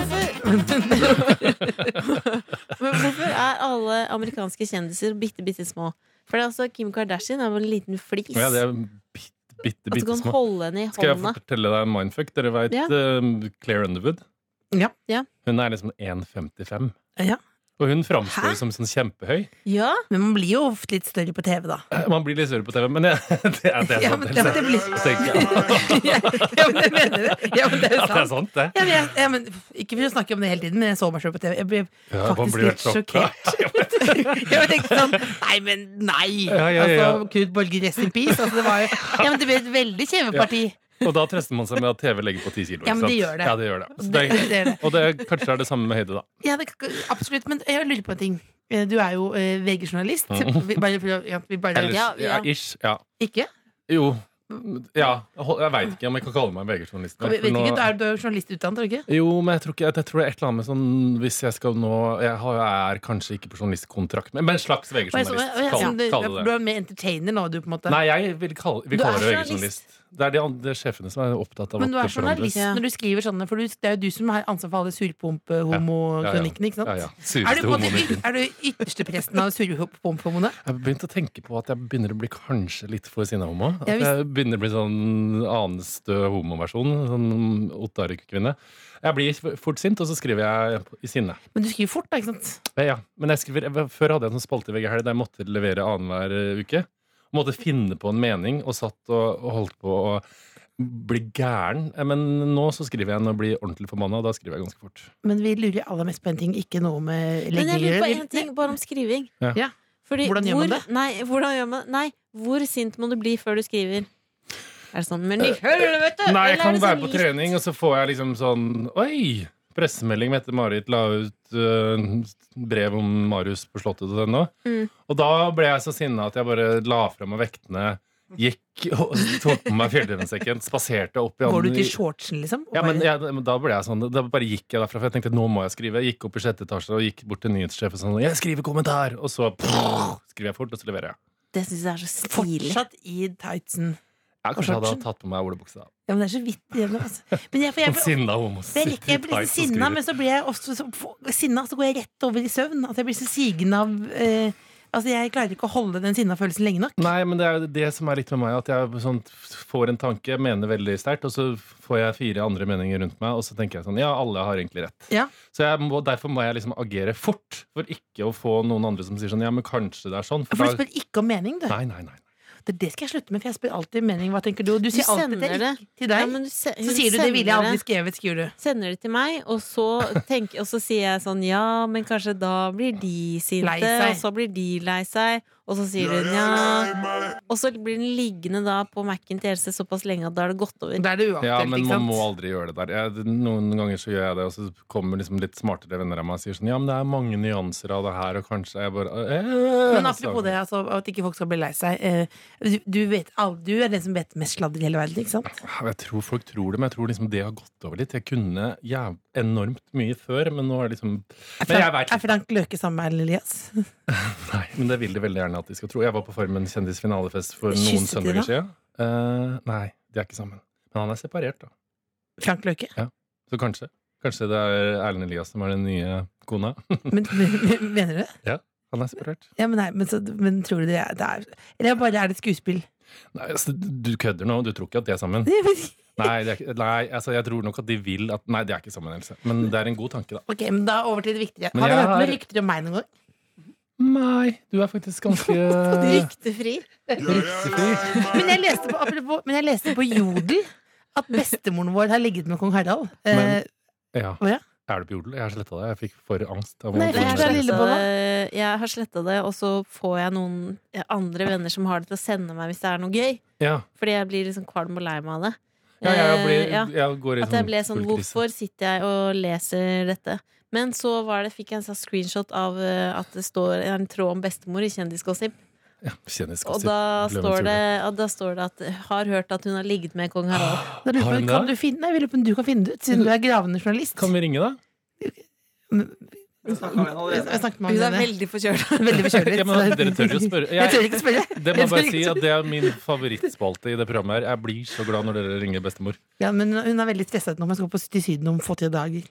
Speaker 2: Men hvorfor er alle amerikanske kjendiser bitte, bitte små? For det er altså Kim Kardashian er vel en liten flis.
Speaker 7: Ja, det er bitte, bitte,
Speaker 2: at du
Speaker 7: bitte
Speaker 2: kan
Speaker 7: små.
Speaker 2: holde henne i
Speaker 7: Skal jeg
Speaker 2: hånda.
Speaker 7: fortelle deg en mindfuck? Dere vet
Speaker 2: Ja.
Speaker 7: eh, Claire Underwood?
Speaker 3: Ja.
Speaker 2: Ja.
Speaker 7: Hun er liksom 1,55.
Speaker 3: Ja.
Speaker 7: Og hun framstår
Speaker 3: Hæ?
Speaker 7: som sånn kjempehøy. Eh,
Speaker 2: Ja,
Speaker 3: Men man blir jo ofte litt større på TV, da.
Speaker 7: Man blir litt større på TV, men jeg, det er, det er
Speaker 3: Ja,
Speaker 7: sant.
Speaker 3: men
Speaker 7: helt
Speaker 3: det- det blir-
Speaker 7: sant. Tenker
Speaker 3: ja, men jeg mener
Speaker 7: jeg.
Speaker 3: det. Ja, men det er
Speaker 7: Ja, det er
Speaker 3: sant.
Speaker 7: sant, det.
Speaker 3: Ja, men jeg, ja, men, ikke for å snakke om det hele tiden, men jeg så meg selv på TV. Jeg ble
Speaker 7: Ja, man
Speaker 3: faktisk
Speaker 7: blir
Speaker 3: litt
Speaker 7: helt sjokka.
Speaker 3: sjokkert. Jeg tenkte sånn Nei, men nei!
Speaker 7: Ja, ja, ja.
Speaker 3: Altså, Knut Borge, rest in peace. Altså, det var jo Ja, men det ble et veldig kjeveparti.
Speaker 7: Og da trøster man seg med at TV legger på 10 kilo.
Speaker 3: Ja,
Speaker 7: ikke
Speaker 3: men det
Speaker 7: sant?
Speaker 3: gjør det.
Speaker 7: Ja, det gjør det. Så
Speaker 3: Det- det
Speaker 7: det
Speaker 3: gjør det.
Speaker 7: og det er- kanskje er det samme med høyde, da.
Speaker 3: Ja, det, absolutt. Men jeg lurer på en ting. Eh, Du er jo eh, VG-journalist. Vi bare, for å- ja, vi bare
Speaker 7: Ellers,
Speaker 2: Ja,
Speaker 7: Mm. ja,
Speaker 2: ja.
Speaker 7: ish. Ja.
Speaker 3: Ikke?
Speaker 7: Jo. Ja. Jeg veit ikke om jeg kan kalle meg VG-journalist.
Speaker 3: Vet
Speaker 7: for
Speaker 3: ikke,
Speaker 7: nå-
Speaker 3: Du er, du er jo journalistutdannet, er du ikke?
Speaker 7: Jo, men jeg tror ikke Jeg tror det er et eller annet med sånn Hvis jeg skal nå Jeg har, er kanskje ikke på journalistkontrakt, men, men en slags
Speaker 3: Og jeg så-
Speaker 7: VG-journalist.
Speaker 3: og jeg-
Speaker 7: Kall,
Speaker 3: sånn, du-
Speaker 7: kall det
Speaker 3: Du
Speaker 7: det.
Speaker 3: er mer entertainer nå, du, på en måte.
Speaker 7: Nei, jeg vil kalle, vi
Speaker 3: Du er
Speaker 7: kaller det
Speaker 3: journalist.
Speaker 7: VG-journalist. Det er de andre sjefene som er opptatt av
Speaker 3: Men du
Speaker 7: at
Speaker 3: er
Speaker 7: det forandres.
Speaker 3: journalist når du skriver sånne, for du, det er jo du som har ansvar for alle surpompe-homokronikkene, ikke sant?
Speaker 7: Ja, ja.
Speaker 3: Er du,
Speaker 7: Sureste
Speaker 3: på en måte
Speaker 7: homoen i byen.
Speaker 3: yt- er du ytterstepresten av surpompe-homoene?
Speaker 7: Jeg har begynt å tenke på at jeg begynner å bli kanskje litt for sinna homo. At
Speaker 3: Ja, hvis-
Speaker 7: jeg begynner å bli sånn annenstø homoversjon. Sånn ottarik-kvinne. Jeg blir fort sint, og så skriver jeg i sinne.
Speaker 3: Men du skriver fort, da, ikke sant?
Speaker 7: Ja, Ja, men jeg skriver, jeg- Før hadde jeg en sånn spalte i VG helg der jeg måtte levere annenhver eh, uke. Måtte finne på en mening, og satt og, og holdt på å bli gæren. Eh, Men nå så skriver jeg når jeg blir ordentlig forbanna, og da skriver jeg ganske fort.
Speaker 3: Men vi lurer aller mest på en ting, ikke noe med
Speaker 2: men jeg lurer på
Speaker 3: legging.
Speaker 2: en ting bare om skriving.
Speaker 7: Ja.
Speaker 3: Ja.
Speaker 2: Fordi
Speaker 3: Hvordan gjør
Speaker 2: hvor,
Speaker 3: man det?
Speaker 2: Nei, hvordan gjør man Nei, hvor sint må du bli før du skriver? Er det sånn Men i helvete!
Speaker 7: Eh, Nei,
Speaker 2: Eller
Speaker 7: jeg
Speaker 2: er
Speaker 7: kan
Speaker 2: det
Speaker 7: være
Speaker 2: sånn litt-
Speaker 7: på trening, og så får jeg liksom sånn Oi! Pressemelding Mette-Marit la ut eh, brev om Marius på Slottet og den nå.
Speaker 2: Mm.
Speaker 7: Og da ble jeg så sinna at jeg bare la fra meg vektene Gikk og tok på meg fjellrevensekken, spaserte opp i
Speaker 3: Går du
Speaker 7: anden-
Speaker 3: til shortsen, liksom? og
Speaker 7: ja, men,
Speaker 3: bare-
Speaker 7: jeg, men da ble jeg sånn Da bare gikk jeg derfra, for jeg tenkte nå må jeg skrive. Jeg gikk opp i sjette etasje og gikk bort til nyhetssjefen sånn Jeg skriver kommentar! Og så prrr, skriver jeg fort, og så leverer jeg.
Speaker 2: Det syns jeg er så stilig.
Speaker 3: Fortsatt i tightsen.
Speaker 7: Jeg kanskje hadde tatt på meg olebuksa.
Speaker 3: Ja, men det er så vidt igjennom, altså. Men jeg, for jeg, blir-
Speaker 7: Sinna homos.
Speaker 3: det er rett, jeg blir så sinna, men så blir jeg ofte så f- sinna, så går jeg rett over i søvn. At jeg blir så sigen av eh, Altså, jeg klarer ikke å holde den sinna følelsen lenge nok.
Speaker 7: Nei, men det er jo det som er litt med meg, at jeg sånn, får en tanke, mener veldig sterkt, og så får jeg fire andre meninger rundt meg, og så tenker jeg sånn Ja, alle har egentlig rett.
Speaker 3: Ja.
Speaker 7: Så jeg må, derfor må jeg liksom agere fort, for ikke å få noen andre som sier sånn Ja, men kanskje det er sånn.
Speaker 3: For du spør ikke om mening, du.
Speaker 7: Nei, nei, nei.
Speaker 3: Det, det skal jeg slutte med, for jeg spør alltid mening. Hva tenker du? Du sier
Speaker 2: sender
Speaker 3: alltid til,
Speaker 2: det.
Speaker 3: til
Speaker 2: Ja,
Speaker 3: deg.
Speaker 2: men du se- hun
Speaker 3: så sier du det ville jeg
Speaker 2: sender
Speaker 3: aldri
Speaker 2: det-
Speaker 3: skrevet, skriver du.
Speaker 2: Sender det til meg, og så, tenk, og så sier jeg sånn ja, men kanskje da blir de sinte,
Speaker 3: Lei seg.
Speaker 2: og så blir de lei seg, og så sier hun ja. Og så blir den liggende da på Mac-en til Else såpass lenge at da er det gått over.
Speaker 3: Da er det uaktuelt,
Speaker 7: Ja, men
Speaker 3: ikke
Speaker 7: man
Speaker 3: sant?
Speaker 7: må aldri gjøre det der. Jeg, noen ganger så gjør jeg det, og så kommer liksom litt smartere venner av meg og sier sånn Ja, men det er mange nyanser av det her, og kanskje jeg bare eh,
Speaker 3: Men
Speaker 7: så-
Speaker 3: apropos det, altså, at ikke folk skal bli lei seg. eh, Du, du, vet, al- du er den som vet mest sladder i hele verden, ikke sant?
Speaker 7: Jeg tror folk tror det, men jeg tror liksom det har gått over litt. Jeg kunne jæv enormt mye før, men nå er det liksom Men jeg
Speaker 3: Frank-
Speaker 7: vet
Speaker 3: er Frank Løke sammen med Erlend Elias?
Speaker 7: Nei, men det vil de veldig gjerne at de skal tro. Jeg var på Farmen kjendisfinalefest for noen
Speaker 3: Kysset de
Speaker 7: søndager
Speaker 3: da?
Speaker 7: siden. Eh, nei, de er ikke sammen. Men han er separert, da.
Speaker 3: Frank Løke?
Speaker 7: Så kanskje. Kanskje det er Erlend Elias som er den nye kona.
Speaker 3: Men, men, mener du det?
Speaker 7: Han er separert.
Speaker 3: Ja, men, nei, men, så, men tror du det er, det er Eller bare er det et skuespill?
Speaker 7: Nei, altså, du kødder nå. Du tror ikke at de er sammen? Nei, det er, ikke- nei altså, jeg tror nok at de vil at Nei, de er ikke sammen, Else. Men det er en god tanke, da.
Speaker 3: ok, men da over til det viktigere.
Speaker 7: Men
Speaker 3: Har du
Speaker 7: jeg
Speaker 3: hørt noen
Speaker 7: har-
Speaker 3: rykter om meg noen gang?
Speaker 7: Nei, du er faktisk ganske
Speaker 2: Ryktefri.
Speaker 7: ryktefri.
Speaker 3: Men jeg leste på, apropos, men jeg leste på Jodel at bestemoren vår har ligget med kong Harald. Eh,
Speaker 7: Men- Ja.
Speaker 3: Å, ja?
Speaker 7: Er du på jodel? Jeg har sletta det. Jeg fikk for angst. Av å
Speaker 3: Nei,
Speaker 7: gå
Speaker 3: det er så
Speaker 7: med det.
Speaker 3: lille-
Speaker 2: Så,
Speaker 3: Lillebolla?
Speaker 2: eh, jeg har sletta det, og så får jeg noen eh, andre venner som har det, til å sende meg hvis det er noe gøy.
Speaker 7: ja.
Speaker 2: Fordi jeg blir liksom kvalm og lei meg av det.
Speaker 7: ja, jeg,
Speaker 2: Eh,
Speaker 7: blir,
Speaker 2: ja.
Speaker 7: jeg går i
Speaker 2: At jeg ble sånn
Speaker 7: full krise.
Speaker 2: Hvorfor sitter jeg og leser dette? Men så var det, fikk jeg en sånn screenshot av eh, at det står en tråd om bestemor i Kjendisgossip.
Speaker 7: Ja,
Speaker 2: Og
Speaker 7: kjendisgossip.
Speaker 2: da
Speaker 7: Ble meg
Speaker 2: står,
Speaker 7: sur.
Speaker 2: det, og da står det at 'har hørt at hun har ligget med kong Harald'.
Speaker 3: Da lurer jeg
Speaker 7: Har
Speaker 3: på,
Speaker 7: hun
Speaker 3: kan
Speaker 7: det?
Speaker 3: du finne, nei, jeg lurer på om du kan finne det ut, siden du er gravende journalist.
Speaker 7: Kan vi ringe, da?
Speaker 6: Vi snakket om en
Speaker 3: Jeg
Speaker 6: allerede.
Speaker 3: jeg snakket med ham om det.
Speaker 2: Ah, veldig forkjøla.
Speaker 3: Veldig bekymret.
Speaker 7: Ja, men dere tør jo spørre.
Speaker 3: Jeg tør
Speaker 7: Jeg,
Speaker 3: ikke spørre.
Speaker 7: det må
Speaker 3: Jeg
Speaker 7: jeg
Speaker 3: tør
Speaker 7: bare
Speaker 3: ikke
Speaker 7: si at
Speaker 3: spørre.
Speaker 7: det er min favorittspalte i det programmet her. Jeg blir så glad når dere ringer bestemor.
Speaker 3: Ja, men hun er veldig stresset nå, men skal på til Syden om få-ti dager.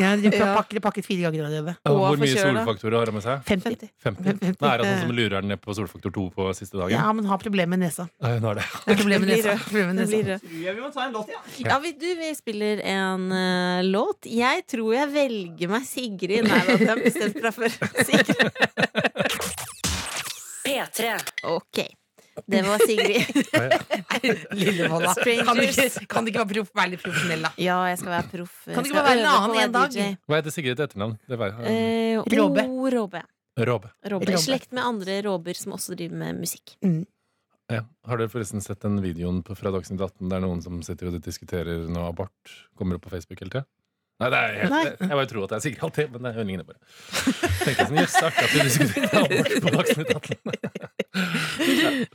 Speaker 3: Ja, de har pakket, pakket fire ganger allerede.
Speaker 2: Og
Speaker 7: Hvor mye
Speaker 2: forkjøla.
Speaker 7: solfaktorer har hun med seg?
Speaker 3: 50.
Speaker 7: 50? Nei, er det sånn som lurer henne ned på solfaktor 2 på siste dagen?
Speaker 3: Ja, men har problemer med nesa.
Speaker 7: Nei, hun har det.
Speaker 3: Det er Problemer med
Speaker 2: Det blir
Speaker 3: nesa.
Speaker 2: rød.
Speaker 3: Problemer med
Speaker 2: sånn.
Speaker 3: nesa.
Speaker 6: Tror jeg vi må ta en låt, ja.
Speaker 2: Ja, vi, du, vi spiller en eh, låt. Jeg tror jeg velger meg Sigrid. Nei, da, det har jeg bestemt fra før. Sigrid.
Speaker 5: P3.
Speaker 2: Ok. Det var Sigrid.
Speaker 3: Lillevolla. Kan du
Speaker 2: Strangers.
Speaker 3: ikke, kan du ikke bare proff, være litt profesjonell, da?
Speaker 2: Ja, jeg skal være proff. Jeg
Speaker 3: Kan det ikke
Speaker 2: skal
Speaker 3: bare være en
Speaker 2: øve på
Speaker 3: annen
Speaker 2: å være
Speaker 3: en dag?
Speaker 2: DJ.
Speaker 7: Hva heter Sigrid til etternavn? Det var,
Speaker 2: Eh, O.
Speaker 3: Råbe.
Speaker 2: Råbe.
Speaker 7: Råbe.
Speaker 2: Robber.
Speaker 3: Robber.
Speaker 2: I slekt med andre robber som også driver med musikk.
Speaker 7: Ja. Har dere forresten sett den videoen på, fra Dagsnytt 18 der noen som sitter og diskuterer noe abort? Kommer opp på Facebook hele tida? Nei, det er helt,
Speaker 2: Nei.
Speaker 7: Jeg, bare tror at det er Sigrid alltid, men det er hun ligner bare. Tenkte sånn, Jøss, artig at du diskuterer abort på Dagsnytt 18.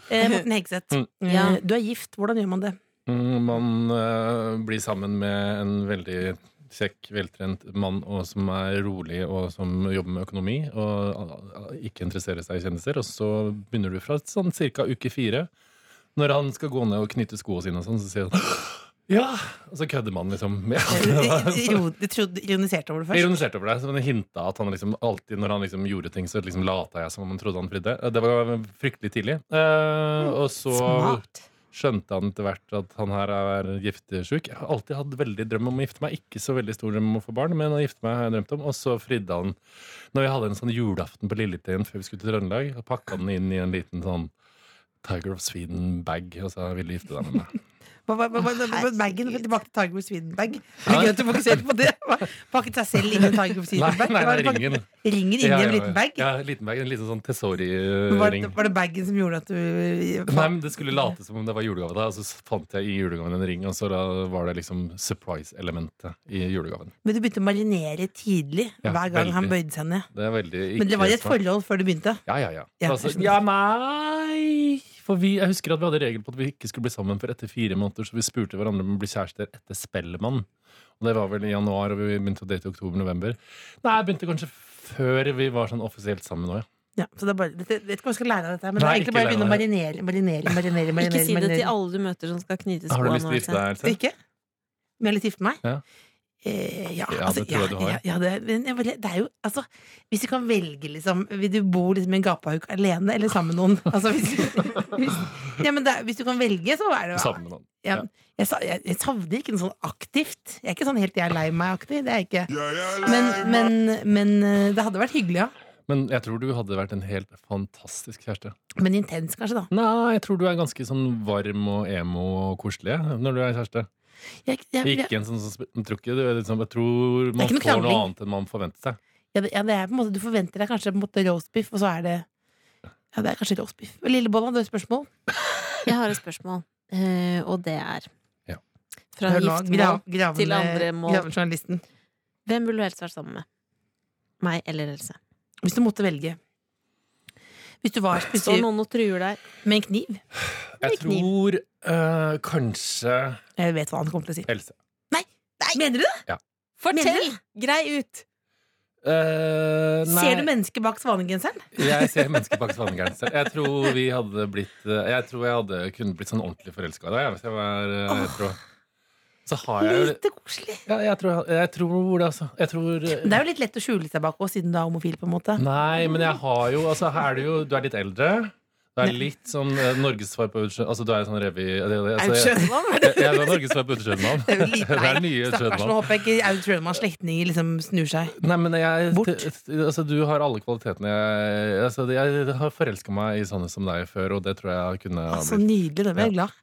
Speaker 3: Eh, Morten Hegseth,
Speaker 7: Mm.
Speaker 3: eh,
Speaker 2: Ja.
Speaker 3: du er gift. Hvordan gjør man det?
Speaker 7: Mm, Man eh, blir sammen med en veldig kjekk, veltrent mann og som er rolig og som jobber med økonomi og eh, ikke interesserer seg i kjendiser. Og så begynner du fra sånn ca. uke fire. Når han skal gå ned og knytte skoene sine, og sånn, så sier han ja! Og så kødder man liksom. Ja.
Speaker 3: Ro- Du trodde, ironiserte over det
Speaker 7: Jeg
Speaker 3: først?
Speaker 7: ironiserte over det, så han hinta at han liksom alltid når han liksom gjorde ting, så liksom lata jeg som om han trodde han fridde. Eh, Det var fryktelig tidlig. Eh, og så
Speaker 3: Smart.
Speaker 7: skjønte han etter hvert at han her er giftesjuk. Jeg har alltid hatt veldig drøm om å gifte meg. Ikke så veldig stor drøm om å få barn, men å gifte meg har jeg drømt om. Og så fridde han når vi hadde en sånn julaften på Lilletøyen før vi skulle til Trøndelag. Og pakka den inn i en liten sånn Tiger of Sweden-bag, og sa han ville gifte deg med meg.
Speaker 3: Hva- hva- hva- hva- hva- Bagen tilbake til Tiger of Sweden-bag. Det er gøy at du fokuserer på det. Hva- Pakket seg selv inn i en Tiger of
Speaker 7: Nei,
Speaker 3: Sweden-bag.
Speaker 7: nei,
Speaker 3: Hva-
Speaker 7: nei,
Speaker 3: hva-
Speaker 7: ringen.
Speaker 3: Ringen inn i en liten bag?
Speaker 7: Ja, liten bag, En liten sånn
Speaker 3: Var
Speaker 7: Tessori-ring.
Speaker 3: det, var det bagen som gjorde at du
Speaker 7: Nei, men Det skulle late som om det var julegave, da, og så fant jeg i julegaven en ring. Og så da var det liksom surprise-elementet i julegaven.
Speaker 3: Men du begynte å marinere tidlig
Speaker 7: Ja,
Speaker 3: hver gang han
Speaker 7: veldig.
Speaker 3: bøyde seg ned.
Speaker 7: Det er veldig
Speaker 3: Men det var i et
Speaker 7: ikke smart.
Speaker 3: forhold før du begynte.
Speaker 7: Ja, ja, ja.
Speaker 3: Ja,
Speaker 7: altså,
Speaker 3: jeg skjønner.
Speaker 7: ja nei For vi, jeg husker at vi hadde regel på at vi ikke skulle bli sammen før etter fire måneder, så vi spurte hverandre om å bli kjærester etter Spellemann. Og det var vel i januar, og vi begynte å date i oktober-november. Nei, jeg begynte kanskje før vi var sånn offisielt sammen nå, ja.
Speaker 3: Ja, så det er bare, jeg vet ikke hva jeg skal lære av dette, her, men det
Speaker 7: Nei,
Speaker 3: er egentlig
Speaker 7: ikke
Speaker 3: bare å begynne å
Speaker 7: lære
Speaker 3: marinere. marinere, marinere, marinere
Speaker 2: Ikke si det
Speaker 3: marinere.
Speaker 2: til alle du møter som skal knyte
Speaker 7: Har du lyst til å
Speaker 2: skoene.
Speaker 7: gifte deg, Else?
Speaker 3: Ikke? Vil jeg litt gifte meg?
Speaker 7: Ja.
Speaker 3: Eh, ja,
Speaker 7: Ja,
Speaker 3: altså,
Speaker 7: det tror jeg
Speaker 3: ja,
Speaker 7: du har.
Speaker 3: Ja, ja, det, men jeg bare, det er jo, altså, hvis du kan velge, liksom Vil du bo liksom, i en gapahuk alene eller sammen med noen? Altså, hvis, hvis, ja, men det, er- hvis du kan velge, så er det jo
Speaker 7: Sammen med noen.
Speaker 3: ja, jeg, sa- jeg, jeg savner ikke noe sånn aktivt. Jeg er ikke sånn helt 'jeg er lei meg'-aktig. Det er jeg ikke. Men, men, men eh, det hadde vært hyggelig, ja.
Speaker 7: Men jeg tror du hadde vært en helt fantastisk kjæreste.
Speaker 3: Men intens, kanskje, da.
Speaker 7: Nei, jeg tror du er ganske sånn varm og emo og koselig jeg, når du er kjæreste.
Speaker 3: Jeg, jeg, jeg,
Speaker 7: Ikke en sånn som sp- jeg tror ikke du er liksom, Jeg tror
Speaker 3: Det er
Speaker 7: man
Speaker 3: ikke noe
Speaker 7: får noe
Speaker 3: krangling.
Speaker 7: annet enn man forventer seg.
Speaker 3: Ja, det, ja, det er på en måte Du forventer deg kanskje på en måte roastbiff, og så er det Ja, det er kanskje roastbiff. Lillebolla, du har et spørsmål?
Speaker 2: Jeg har et spørsmål, eh, og det er
Speaker 7: Ja.
Speaker 2: Fra
Speaker 3: Hør nå,
Speaker 2: giftermål.
Speaker 3: grav- gravende-
Speaker 2: til andre mål.
Speaker 3: gravende journalisten.
Speaker 2: Hvem ville du helst vært sammen med? Meg eller Else?
Speaker 3: Hvis du måtte velge Hvis du var hvis
Speaker 2: Står
Speaker 3: du,
Speaker 2: noen og truer deg?
Speaker 3: med en kniv
Speaker 7: Jeg
Speaker 2: Med kniv.
Speaker 7: tror eh, kanskje
Speaker 3: Jeg vet hva han kommer til å si.
Speaker 7: Else.
Speaker 3: Mener du det?
Speaker 2: Fortell! Grei ut!
Speaker 7: Eh, nei,
Speaker 3: Ser du mennesket bak svanegenseren?
Speaker 7: jeg ser mennesker bak svanegrenser. Jeg tror vi hadde blitt eh, Jeg tror jeg hadde kunne blitt sånn ordentlig forelska i deg jeg, hvis jeg var eh, hetero. Så har jeg jo
Speaker 3: Lite koselig.
Speaker 7: ja, jeg, tror, jeg tror det, altså. Jeg tror
Speaker 3: Det er jo litt lett å skjule seg bak også, siden du er homofil, på en måte.
Speaker 7: Nei, men jeg har jo Altså, her er du jo Du er litt eldre. Du er litt sånn eh, Norges svar på Utsjøen Altså, du er sånn revy... Altså,
Speaker 3: Aud
Speaker 7: jeg,
Speaker 3: Schønland?
Speaker 7: jeg, jeg var Norges svar på Utsjøen-mann.
Speaker 3: Det er jo lite-
Speaker 7: Det er
Speaker 3: nei,
Speaker 7: nye
Speaker 3: Stakkars, nå
Speaker 7: Utsjøen-mann.
Speaker 3: håper jeg ikke Aud Schønmanns slektninger liksom snur seg.
Speaker 7: Nei, men jeg
Speaker 3: Bort.
Speaker 7: Altså, du har alle kvalitetene jeg Altså, jeg har forelska meg i sånne som deg før, og det tror jeg kunne ha
Speaker 3: Så
Speaker 7: blitt.
Speaker 3: nydelig. Da blir jeg glad.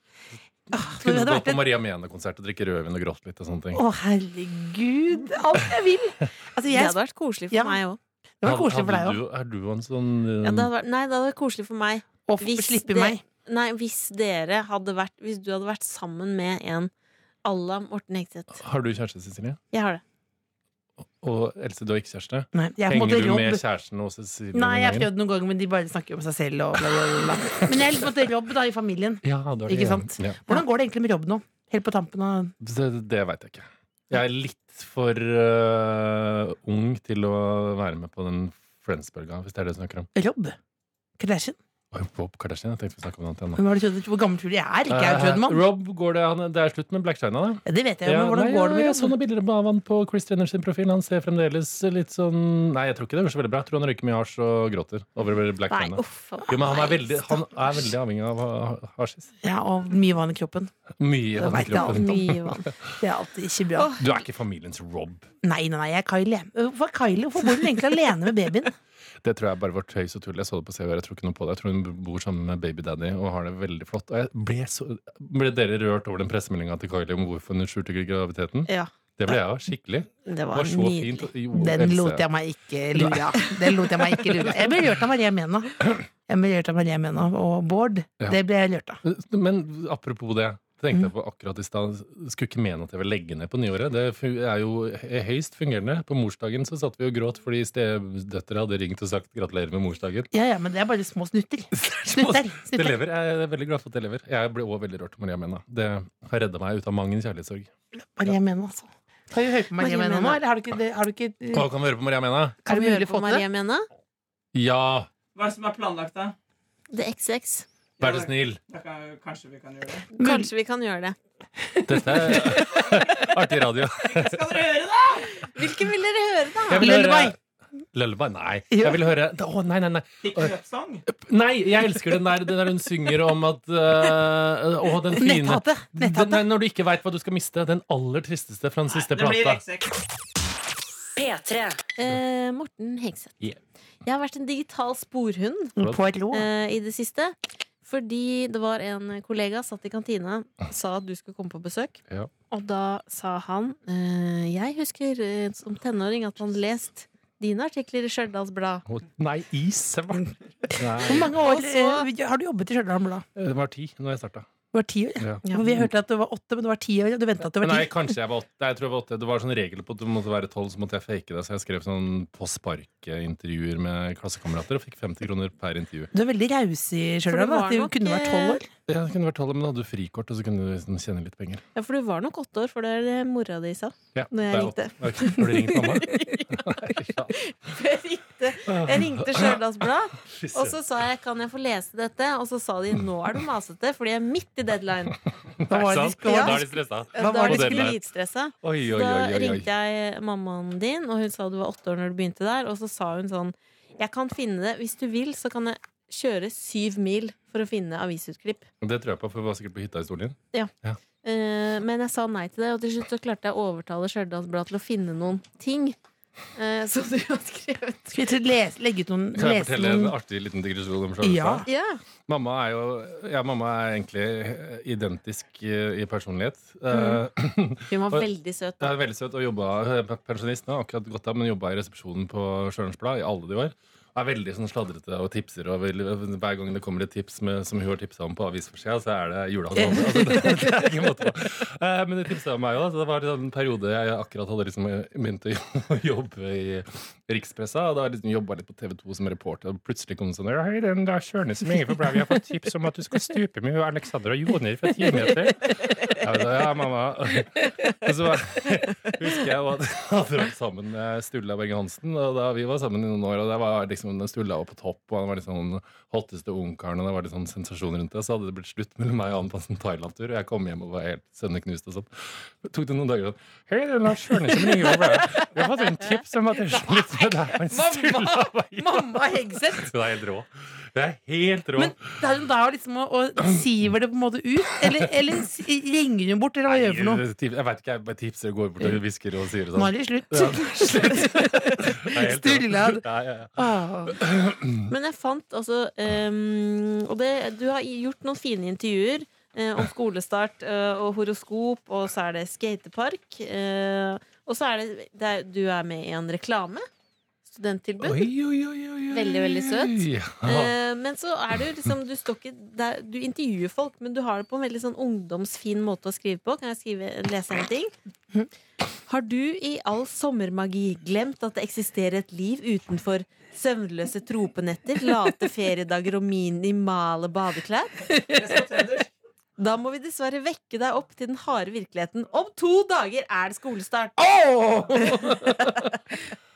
Speaker 3: Ah, men det hadde
Speaker 7: Kunne gå
Speaker 3: vært
Speaker 7: på
Speaker 3: et
Speaker 7: Maria Mena-konsert og drikke rødvin og gråte litt og sånne ting.
Speaker 3: Å, herregud! Alt jeg vil! Altså,
Speaker 2: Det
Speaker 3: jeg,
Speaker 2: hadde vært koselig for
Speaker 3: Ja.
Speaker 2: meg òg.
Speaker 3: det var koselig for deg
Speaker 7: Hadde
Speaker 3: òg.
Speaker 7: du- Er du en sånn
Speaker 2: Ja, det
Speaker 7: um,
Speaker 2: hadde vært- nei, det hadde vært koselig for meg.
Speaker 3: Å f-
Speaker 2: Hvis
Speaker 3: slippe
Speaker 2: det-
Speaker 3: meg.
Speaker 2: Nei, hvis dere hadde vært Hvis du hadde vært sammen med en à la Morten Hegseth.
Speaker 7: Har du kjæreste, Cecilie?
Speaker 2: Jeg har det.
Speaker 7: Og Else, du har ikke kjæreste?
Speaker 3: Nei, jeg er på en
Speaker 7: Henger
Speaker 3: måte
Speaker 7: du med
Speaker 3: Rob.
Speaker 7: kjæresten og Cecilie?
Speaker 3: Nei, jeg har
Speaker 7: Langen?
Speaker 3: prøvd noen ganger, men de bare snakker jo om seg selv og bla, bla, bla. bla. Men jeg er litt på en måte Rob da, i familien.
Speaker 7: Ja, det er det,
Speaker 3: Ikke
Speaker 7: ja.
Speaker 3: sant?
Speaker 7: Ja.
Speaker 3: Hvordan går det egentlig med Rob nå? Helt på tampen av
Speaker 7: Det, det veit jeg ikke. Jeg er litt for øh, ung til å være med på den Friends-bølga, hvis det er det du snakker om.
Speaker 3: Rob? Kardashian?
Speaker 7: Oi, Rob Kardashian, jeg tenkte vi snakket om noe annet igjen nå.
Speaker 3: Hvem har du trodd, hvor gammel tror du jeg er? Ikke jeg,
Speaker 7: Eh,
Speaker 3: Trødman?
Speaker 7: Rob, går det, han, det er slutt med Black China, da?
Speaker 3: Ja, det vet jeg jo,
Speaker 7: Eh, Ja,
Speaker 3: men hvordan
Speaker 7: nei,
Speaker 3: går det
Speaker 7: ja, sånn
Speaker 3: med
Speaker 7: Jeg så
Speaker 3: Rob?
Speaker 7: noen bilder av han på Chris Jenner sin profil. Han ser fremdeles litt sånn Nei, jeg tror ikke det går så veldig bra. Jeg tror han røyker mye hasj og gråter over Black
Speaker 2: Nei,
Speaker 7: China.
Speaker 2: uff a meg.
Speaker 7: Jo, men han er veldig, han er veldig avhengig av ha- hasjis.
Speaker 3: Ja, og mye vann i kroppen.
Speaker 7: Mye
Speaker 3: Det
Speaker 7: av
Speaker 3: vet jeg
Speaker 7: kroppen.
Speaker 2: Mye vann.
Speaker 3: Det er alltid ikke bra.
Speaker 7: Du er ikke familiens Rob.
Speaker 3: Nei, nei, nei, jeg er Kylie. jeg. Hvorfor er Kylie? Hvorfor bor hun egentlig alene med babyen?
Speaker 7: Det tror jeg bare var tøys og tull. Jeg så det på CVR. Jeg tror ikke noe på det. Jeg tror hun bor sammen med babydaddy og har det veldig flott. Og jeg ble, så, ble dere rørt over den pressemeldinga til Kylie om hvorfor hun skjulte graviditeten?
Speaker 2: Ja,
Speaker 7: Det ble jeg av, skikkelig. Det
Speaker 2: det var
Speaker 7: var så
Speaker 2: nydelig.
Speaker 7: fint. Jo,
Speaker 3: Den
Speaker 7: Else.
Speaker 3: lot jeg meg ikke lure av. Den lot jeg meg ikke lure av. Jeg ble rørt av Maria Mena. Jeg ble rørt av Maria Mena og Bård.
Speaker 7: Ja.
Speaker 3: Det ble jeg rørt av.
Speaker 7: Men apropos det.
Speaker 3: Mm.
Speaker 7: Tenkte jeg på akkurat i stad Skulle ikke mene at jeg vil legge ned på nyåret. Det fu- er jo hø- høyst fungerende. På morsdagen så satt vi og gråt fordi stedøtre hadde ringt og sagt 'gratulerer med morsdagen'.
Speaker 3: Ja, ja, men det er bare små snutter. Snutter.
Speaker 7: Det
Speaker 3: snutter.
Speaker 7: lever. Jeg er veldig glad for at det lever. Jeg ble òg veldig rørt av Maria Mena. Det har redda meg ut av mang en kjærlighetssorg.
Speaker 3: Maria Mena, altså. Kan du høre på
Speaker 2: Maria
Speaker 3: Maria Mena nå,
Speaker 2: Mena.
Speaker 3: eller har du ikke, det- har du ikke eh,
Speaker 7: Hva kan vi høre på Maria Mena?
Speaker 3: Er
Speaker 2: Kan
Speaker 3: det
Speaker 2: vi
Speaker 3: mulig
Speaker 2: høre
Speaker 3: å få
Speaker 2: på
Speaker 3: til det?
Speaker 2: Maria Mena?
Speaker 7: Ja,
Speaker 6: Hva er det som er planlagt, da?
Speaker 2: The XX.
Speaker 7: vær så snill.
Speaker 6: Da kan- Kanskje vi kan gjøre det?
Speaker 2: Kanskje vi kan gjøre det.
Speaker 7: Dette er artig radio.
Speaker 6: Skal dere høre det?
Speaker 2: Hvilken vil dere høre, da?
Speaker 7: Jeg
Speaker 3: Lullaby.
Speaker 7: Lullaby? Nei.
Speaker 3: Ja.
Speaker 7: Jeg vil høre Å, nei, nei, nei.
Speaker 6: Pick me up song?
Speaker 7: Nei, jeg elsker den der, den der hun synger om at øh, Å, den fine
Speaker 3: Netthatte.
Speaker 7: den,
Speaker 3: Netthatte.
Speaker 7: nei, Når du ikke veit hva du skal miste. Den aller tristeste fra den siste
Speaker 6: Det blir
Speaker 7: plata.
Speaker 6: XX.
Speaker 5: P3.
Speaker 2: Eh, Morten Hegseth.
Speaker 7: Yeah.
Speaker 2: Jeg har vært en digital sporhund
Speaker 3: Poirot.
Speaker 2: eh, i det siste. Fordi det var en kollega satt i kantina, sa at du skulle komme på besøk.
Speaker 7: Ja.
Speaker 2: Og da sa han eh, Jeg husker eh, som tenåring at han lest dine artikler i Stjørdals Blad.
Speaker 7: Å, Nei, i svart!
Speaker 3: Hvor
Speaker 7: Nei,
Speaker 3: mange år
Speaker 2: Og så-
Speaker 3: eh, har du jobbet i Stjørdal Blad?
Speaker 7: det var ti når jeg starta.
Speaker 3: Du var ti år.
Speaker 7: Ja.
Speaker 3: Ja. Vi hørte at du var åtte, men du var ti år. Du venta at du var
Speaker 7: Men
Speaker 3: ti.
Speaker 7: Nei, kanskje jeg var åtte. Nei, Jeg tror jeg var åtte. Det var sånn regel på at du måtte være tolv, så måtte jeg fake det. Så jeg skrev sånn på sparket-intervjuer med klassekamerater og fikk 50 kroner per intervju.
Speaker 3: Du er veldig raus i
Speaker 2: For
Speaker 3: Stjørdal.
Speaker 2: det
Speaker 3: da,
Speaker 2: var
Speaker 3: At du
Speaker 2: nok,
Speaker 3: kunne vært tolv år.
Speaker 7: Ja, det kunne vært tolv, men da hadde du frikort, og så kunne du liksom tjene litt penger.
Speaker 2: Ja, for du var nok åtte år, for det er det mora di sa.
Speaker 7: Ja,
Speaker 2: Når jeg
Speaker 7: det er
Speaker 2: ringte.
Speaker 7: åtte. Ok, Har du ringt mamma? ja.
Speaker 2: Jeg ringte, jeg ringte Stjørdals Blad,
Speaker 7: Fy
Speaker 2: og så sa jeg 'kan jeg få lese dette', og så sa de 'nå er du masete', fordi jeg er midt i deadline.
Speaker 7: søren.
Speaker 3: Hva var det de
Speaker 7: Sant?
Speaker 3: skulle-
Speaker 7: Da er de stressa.
Speaker 2: Da
Speaker 3: var
Speaker 2: var
Speaker 3: det
Speaker 2: de
Speaker 7: deadline?
Speaker 2: dritstressa.
Speaker 7: Oi, oi,
Speaker 2: Så
Speaker 7: oi,
Speaker 2: da
Speaker 7: oi,
Speaker 2: ringte
Speaker 7: oi.
Speaker 2: jeg mammaen din, og hun sa du var åtte år når du begynte der. Og så sa hun sånn Jeg kan finne det. Hvis du vil, så kan jeg kjøre syv mil for å finne avisutklipp.
Speaker 7: Det tror jeg på, for vi var sikkert på hytta i Storlien.
Speaker 2: Eh, men jeg sa nei til det, og til slutt så klarte jeg å overtale Stjørdals Blad til å finne noen ting. eh, som du har skrevet.
Speaker 3: Skal vi til å lese, legge ut noen
Speaker 7: Kan jeg
Speaker 3: lese
Speaker 7: fortelle en
Speaker 3: noen
Speaker 7: artig liten digresjon om Sjølstad?
Speaker 3: Ja.
Speaker 2: Ja.
Speaker 7: Mamma er jo ja, mamma er egentlig identisk eh, i personlighet. Eh,
Speaker 2: Hun var veldig søt.
Speaker 7: Det er veldig søt og jobba hun er pensjonist nå, akkurat gått av, men jobba i resepsjonen på Sjørens Blad i alle de år. Og er veldig sånn sladrete og tipser. Og vil, hver gang det kommer et tips med, som hun har tipsa om på avisforsida, så er det julehandel. Altså, det, det er ikke en måte på. Eh, Men hun tipsa meg òg. Det var en sånn periode jeg akkurat hadde liksom begynt å jobbe i rikspressa. Og da liksom jobba litt på TV 2 som reporter, og plutselig kom det sånn Hei, den der Sjørnes som ringer for Blau, jeg har fått tips om at du skal stupe med Alexander og Joner fra 10 meter. Ja, da, ja, mamma. Og så var- husker jeg jo at jeg hadde vært sammen med Sturla Berge Hansen. Og da vi var sammen i noen år, og det var liksom den Sturla var på topp, og han var liksom den hotteste ungkaren, og det var litt sånn sensasjon rundt det, så hadde det blitt slutt mellom meg og han på en sånn Thailand-tur, og jeg kom hjem og var helt søvneknust og sånn. Tok det noen dager sånn Hei, det er Lars Sjørnes som ringer over. Vi har fått en tips om at det er slutt med deg og Sturla Berge.
Speaker 3: Mamma Hegseth!
Speaker 7: Hun er helt rå. Hun er helt rå.
Speaker 3: Men det er hun da liksom å, å siver det på en måte ut? Eller, eller s- ringer hun bort, eller hva gjør hun for noe?
Speaker 7: Jeg veit ikke, jeg bare tipser og går bort og hvisker og sier det
Speaker 3: Nå
Speaker 7: sånn.
Speaker 3: er det slutt.
Speaker 7: Ja. Det er helt rå.
Speaker 3: Sturla.
Speaker 7: Ja, ja, ja.
Speaker 3: Åh.
Speaker 2: Men jeg fant altså ehm, Og det, du har gjort noen fine intervjuer eh, om skolestart eh, og horoskop, og så er det skatepark. eh, og så er det, det er, Du er med i en reklame. Studenttilbud.
Speaker 7: Oi, oi, oi, oi, oi.
Speaker 2: Veldig, veldig søt.
Speaker 7: Ja.
Speaker 2: Eh, men så er du liksom Du står ikke der, Du intervjuer folk, men du har det på en veldig sånn ungdomsfin måte å skrive på. Kan jeg skrive, lese en ting? Har du i all sommermagi glemt at det eksisterer et liv utenfor søvnløse tropenetter, late feriedager og minimale badeklær? Da må vi dessverre vekke deg opp til den harde virkeligheten. Om to dager er det skolestart!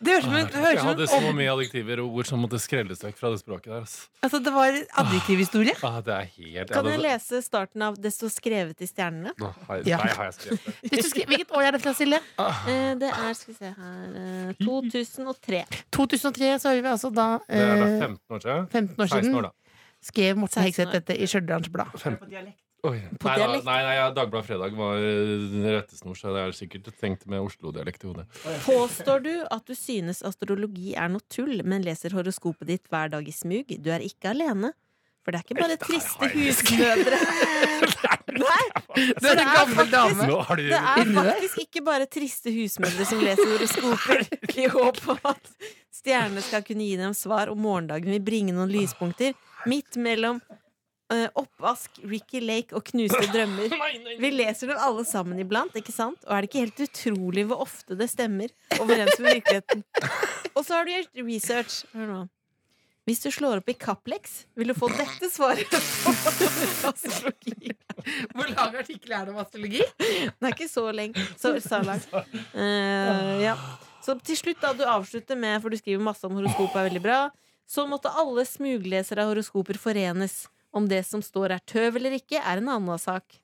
Speaker 3: Det høres ut som en- det høres
Speaker 7: Jeg hadde
Speaker 3: ut
Speaker 7: så
Speaker 3: som en
Speaker 7: mye adjektiver og ord som måtte skrelles vekk fra det språket der. ass.
Speaker 3: Altså, det var adjektivhistorie.
Speaker 7: Ah, det er helt
Speaker 2: Kan jeg
Speaker 7: hadde-
Speaker 2: lese starten av 'Det sto skrevet i stjernene'?
Speaker 7: Nå har jeg-
Speaker 3: Ja.
Speaker 7: Nei, har jeg skrevet det?
Speaker 3: Hvis du skri- Hvilket år er det fra, Silje?
Speaker 2: Eh, Det er skal vi se her eh, 2003.
Speaker 3: 2003, så har vi altså da
Speaker 7: Det er da
Speaker 3: eh,
Speaker 7: 15 år siden.
Speaker 3: 15 år
Speaker 7: 16
Speaker 3: siden
Speaker 7: år, da.
Speaker 3: skrev Morten
Speaker 2: 16 år.
Speaker 3: Hegseth dette i Stjørdals Blad.
Speaker 6: Hører på dialekt.
Speaker 7: Oi.
Speaker 2: På
Speaker 7: Nei, da,
Speaker 2: dialekt?
Speaker 7: nei, nei ja, Dagbladet Fredag var eh, rettesnor, så det er sikkert tenkt med Oslo-dialekt i hodet.
Speaker 2: Påstår du at du synes astrologi er noe tull, men leser horoskopet ditt hver dag i smug? Du er ikke alene. For det er ikke bare triste husmødre. Nei,
Speaker 3: Du er
Speaker 2: det
Speaker 3: en
Speaker 2: er
Speaker 3: gammel dame.
Speaker 7: Nå har du
Speaker 2: det er faktisk ikke bare triste husmødre som leser horoskoper i håp om at stjernene skal kunne gi dem svar, og morgendagen vil bringe noen lyspunkter midt mellom eh, oppvask, Ricky Lake og knuste drømmer. Vi leser dem alle sammen iblant, ikke sant? Og er det ikke helt utrolig hvor ofte det stemmer overens med virkeligheten? Og så har du gjort research. Hør nå. Hvis du slår opp i Kaplex, vil du få dette svaret. på astrologi.
Speaker 3: Hvor lang artikkel er det om astrologi?
Speaker 2: Den er ikke så lenge. Så, så langt. Eh, ja. Så til slutt, da, du avslutter med, for du skriver masse om horoskop, er veldig bra, så måtte alle smuglesere av horoskoper forenes. Om det som står er tøv eller ikke, er en annen sak.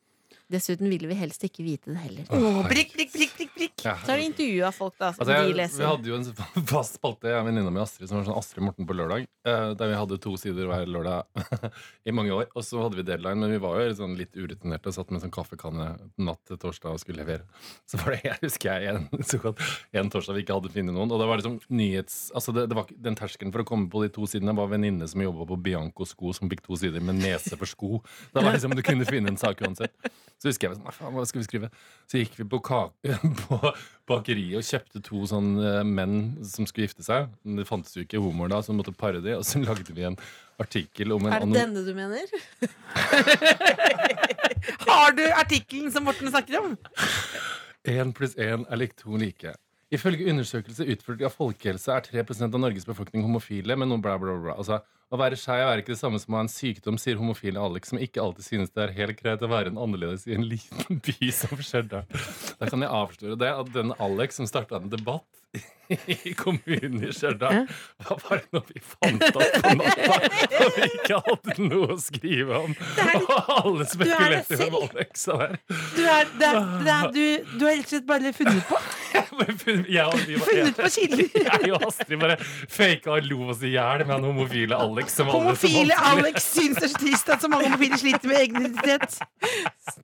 Speaker 2: Dessuten ville vi helst ikke vite det heller.
Speaker 3: Åh, prikk, prikk, prikk, prikk, prikk.
Speaker 7: Ja.
Speaker 2: Så har de intervjua folk, da, som
Speaker 7: Altså,
Speaker 2: de
Speaker 7: jeg, vi
Speaker 2: leser.
Speaker 7: hadde jo en fast spalte, jeg og venninna mi Astrid, som var sånn Astrid Morten på lørdag. eh, der vi hadde to sider hver lørdag i mange år. Og så hadde vi deadline, men vi var jo sånn litt urutinerte og satt med en sånn kaffekanne natt til torsdag og skulle levere. Så var det, jeg husker jeg, en, såkalt, en torsdag vi ikke hadde funnet noen. Og det var liksom nyhets... Altså, det, det var, ikke- den terskelen for å komme på de to sidene var venninne som jobba på Bianco sko, som fikk to sider med nese for sko. Det var liksom, Du kunne finne en sak uansett. Så husker jeg sånn, «Nei, faen, hva skal vi skrive? Så gikk vi på, kake, på bakeriet og kjøpte to sånn eh, menn som skulle gifte seg. Men Det fantes jo ikke homoer da, så vi måtte pare de, og så lagde vi en artikkel om en
Speaker 2: Er det
Speaker 7: anon-
Speaker 2: denne du mener?
Speaker 3: Har du artikkelen som Morten snakker om?
Speaker 7: Én pluss én er lik to like. Ifølge undersøkelse utført av Folkehelse er 3 av Norges befolkning homofile. Men noe bla, bla, bla. Altså, å være skeiv er ikke det samme som å ha en sykdom, sier homofile Alex, som ikke alltid synes det er helt greit å være en annerledes i en liten by som Stjørdal. Da kan jeg avsløre det at den Alex som starta en debatt i kommunen i Stjørdal, var bare noe vi fant opp på natta, og vi ikke hadde noe å skrive om. Og alle spekulerte i hvem Alex var.
Speaker 3: Du er, det er, det er, du, du har rett og slett bare funnet på,
Speaker 7: Jeg og vi var,
Speaker 3: funnet på kilder.
Speaker 7: Jeg og Astrid bare faka og lo oss i hjel med han homofile Alex. Som alle som
Speaker 3: Homofile
Speaker 7: vanskelig.
Speaker 3: Alex syns det er så trist at så mange homofile sliter med egen identitet.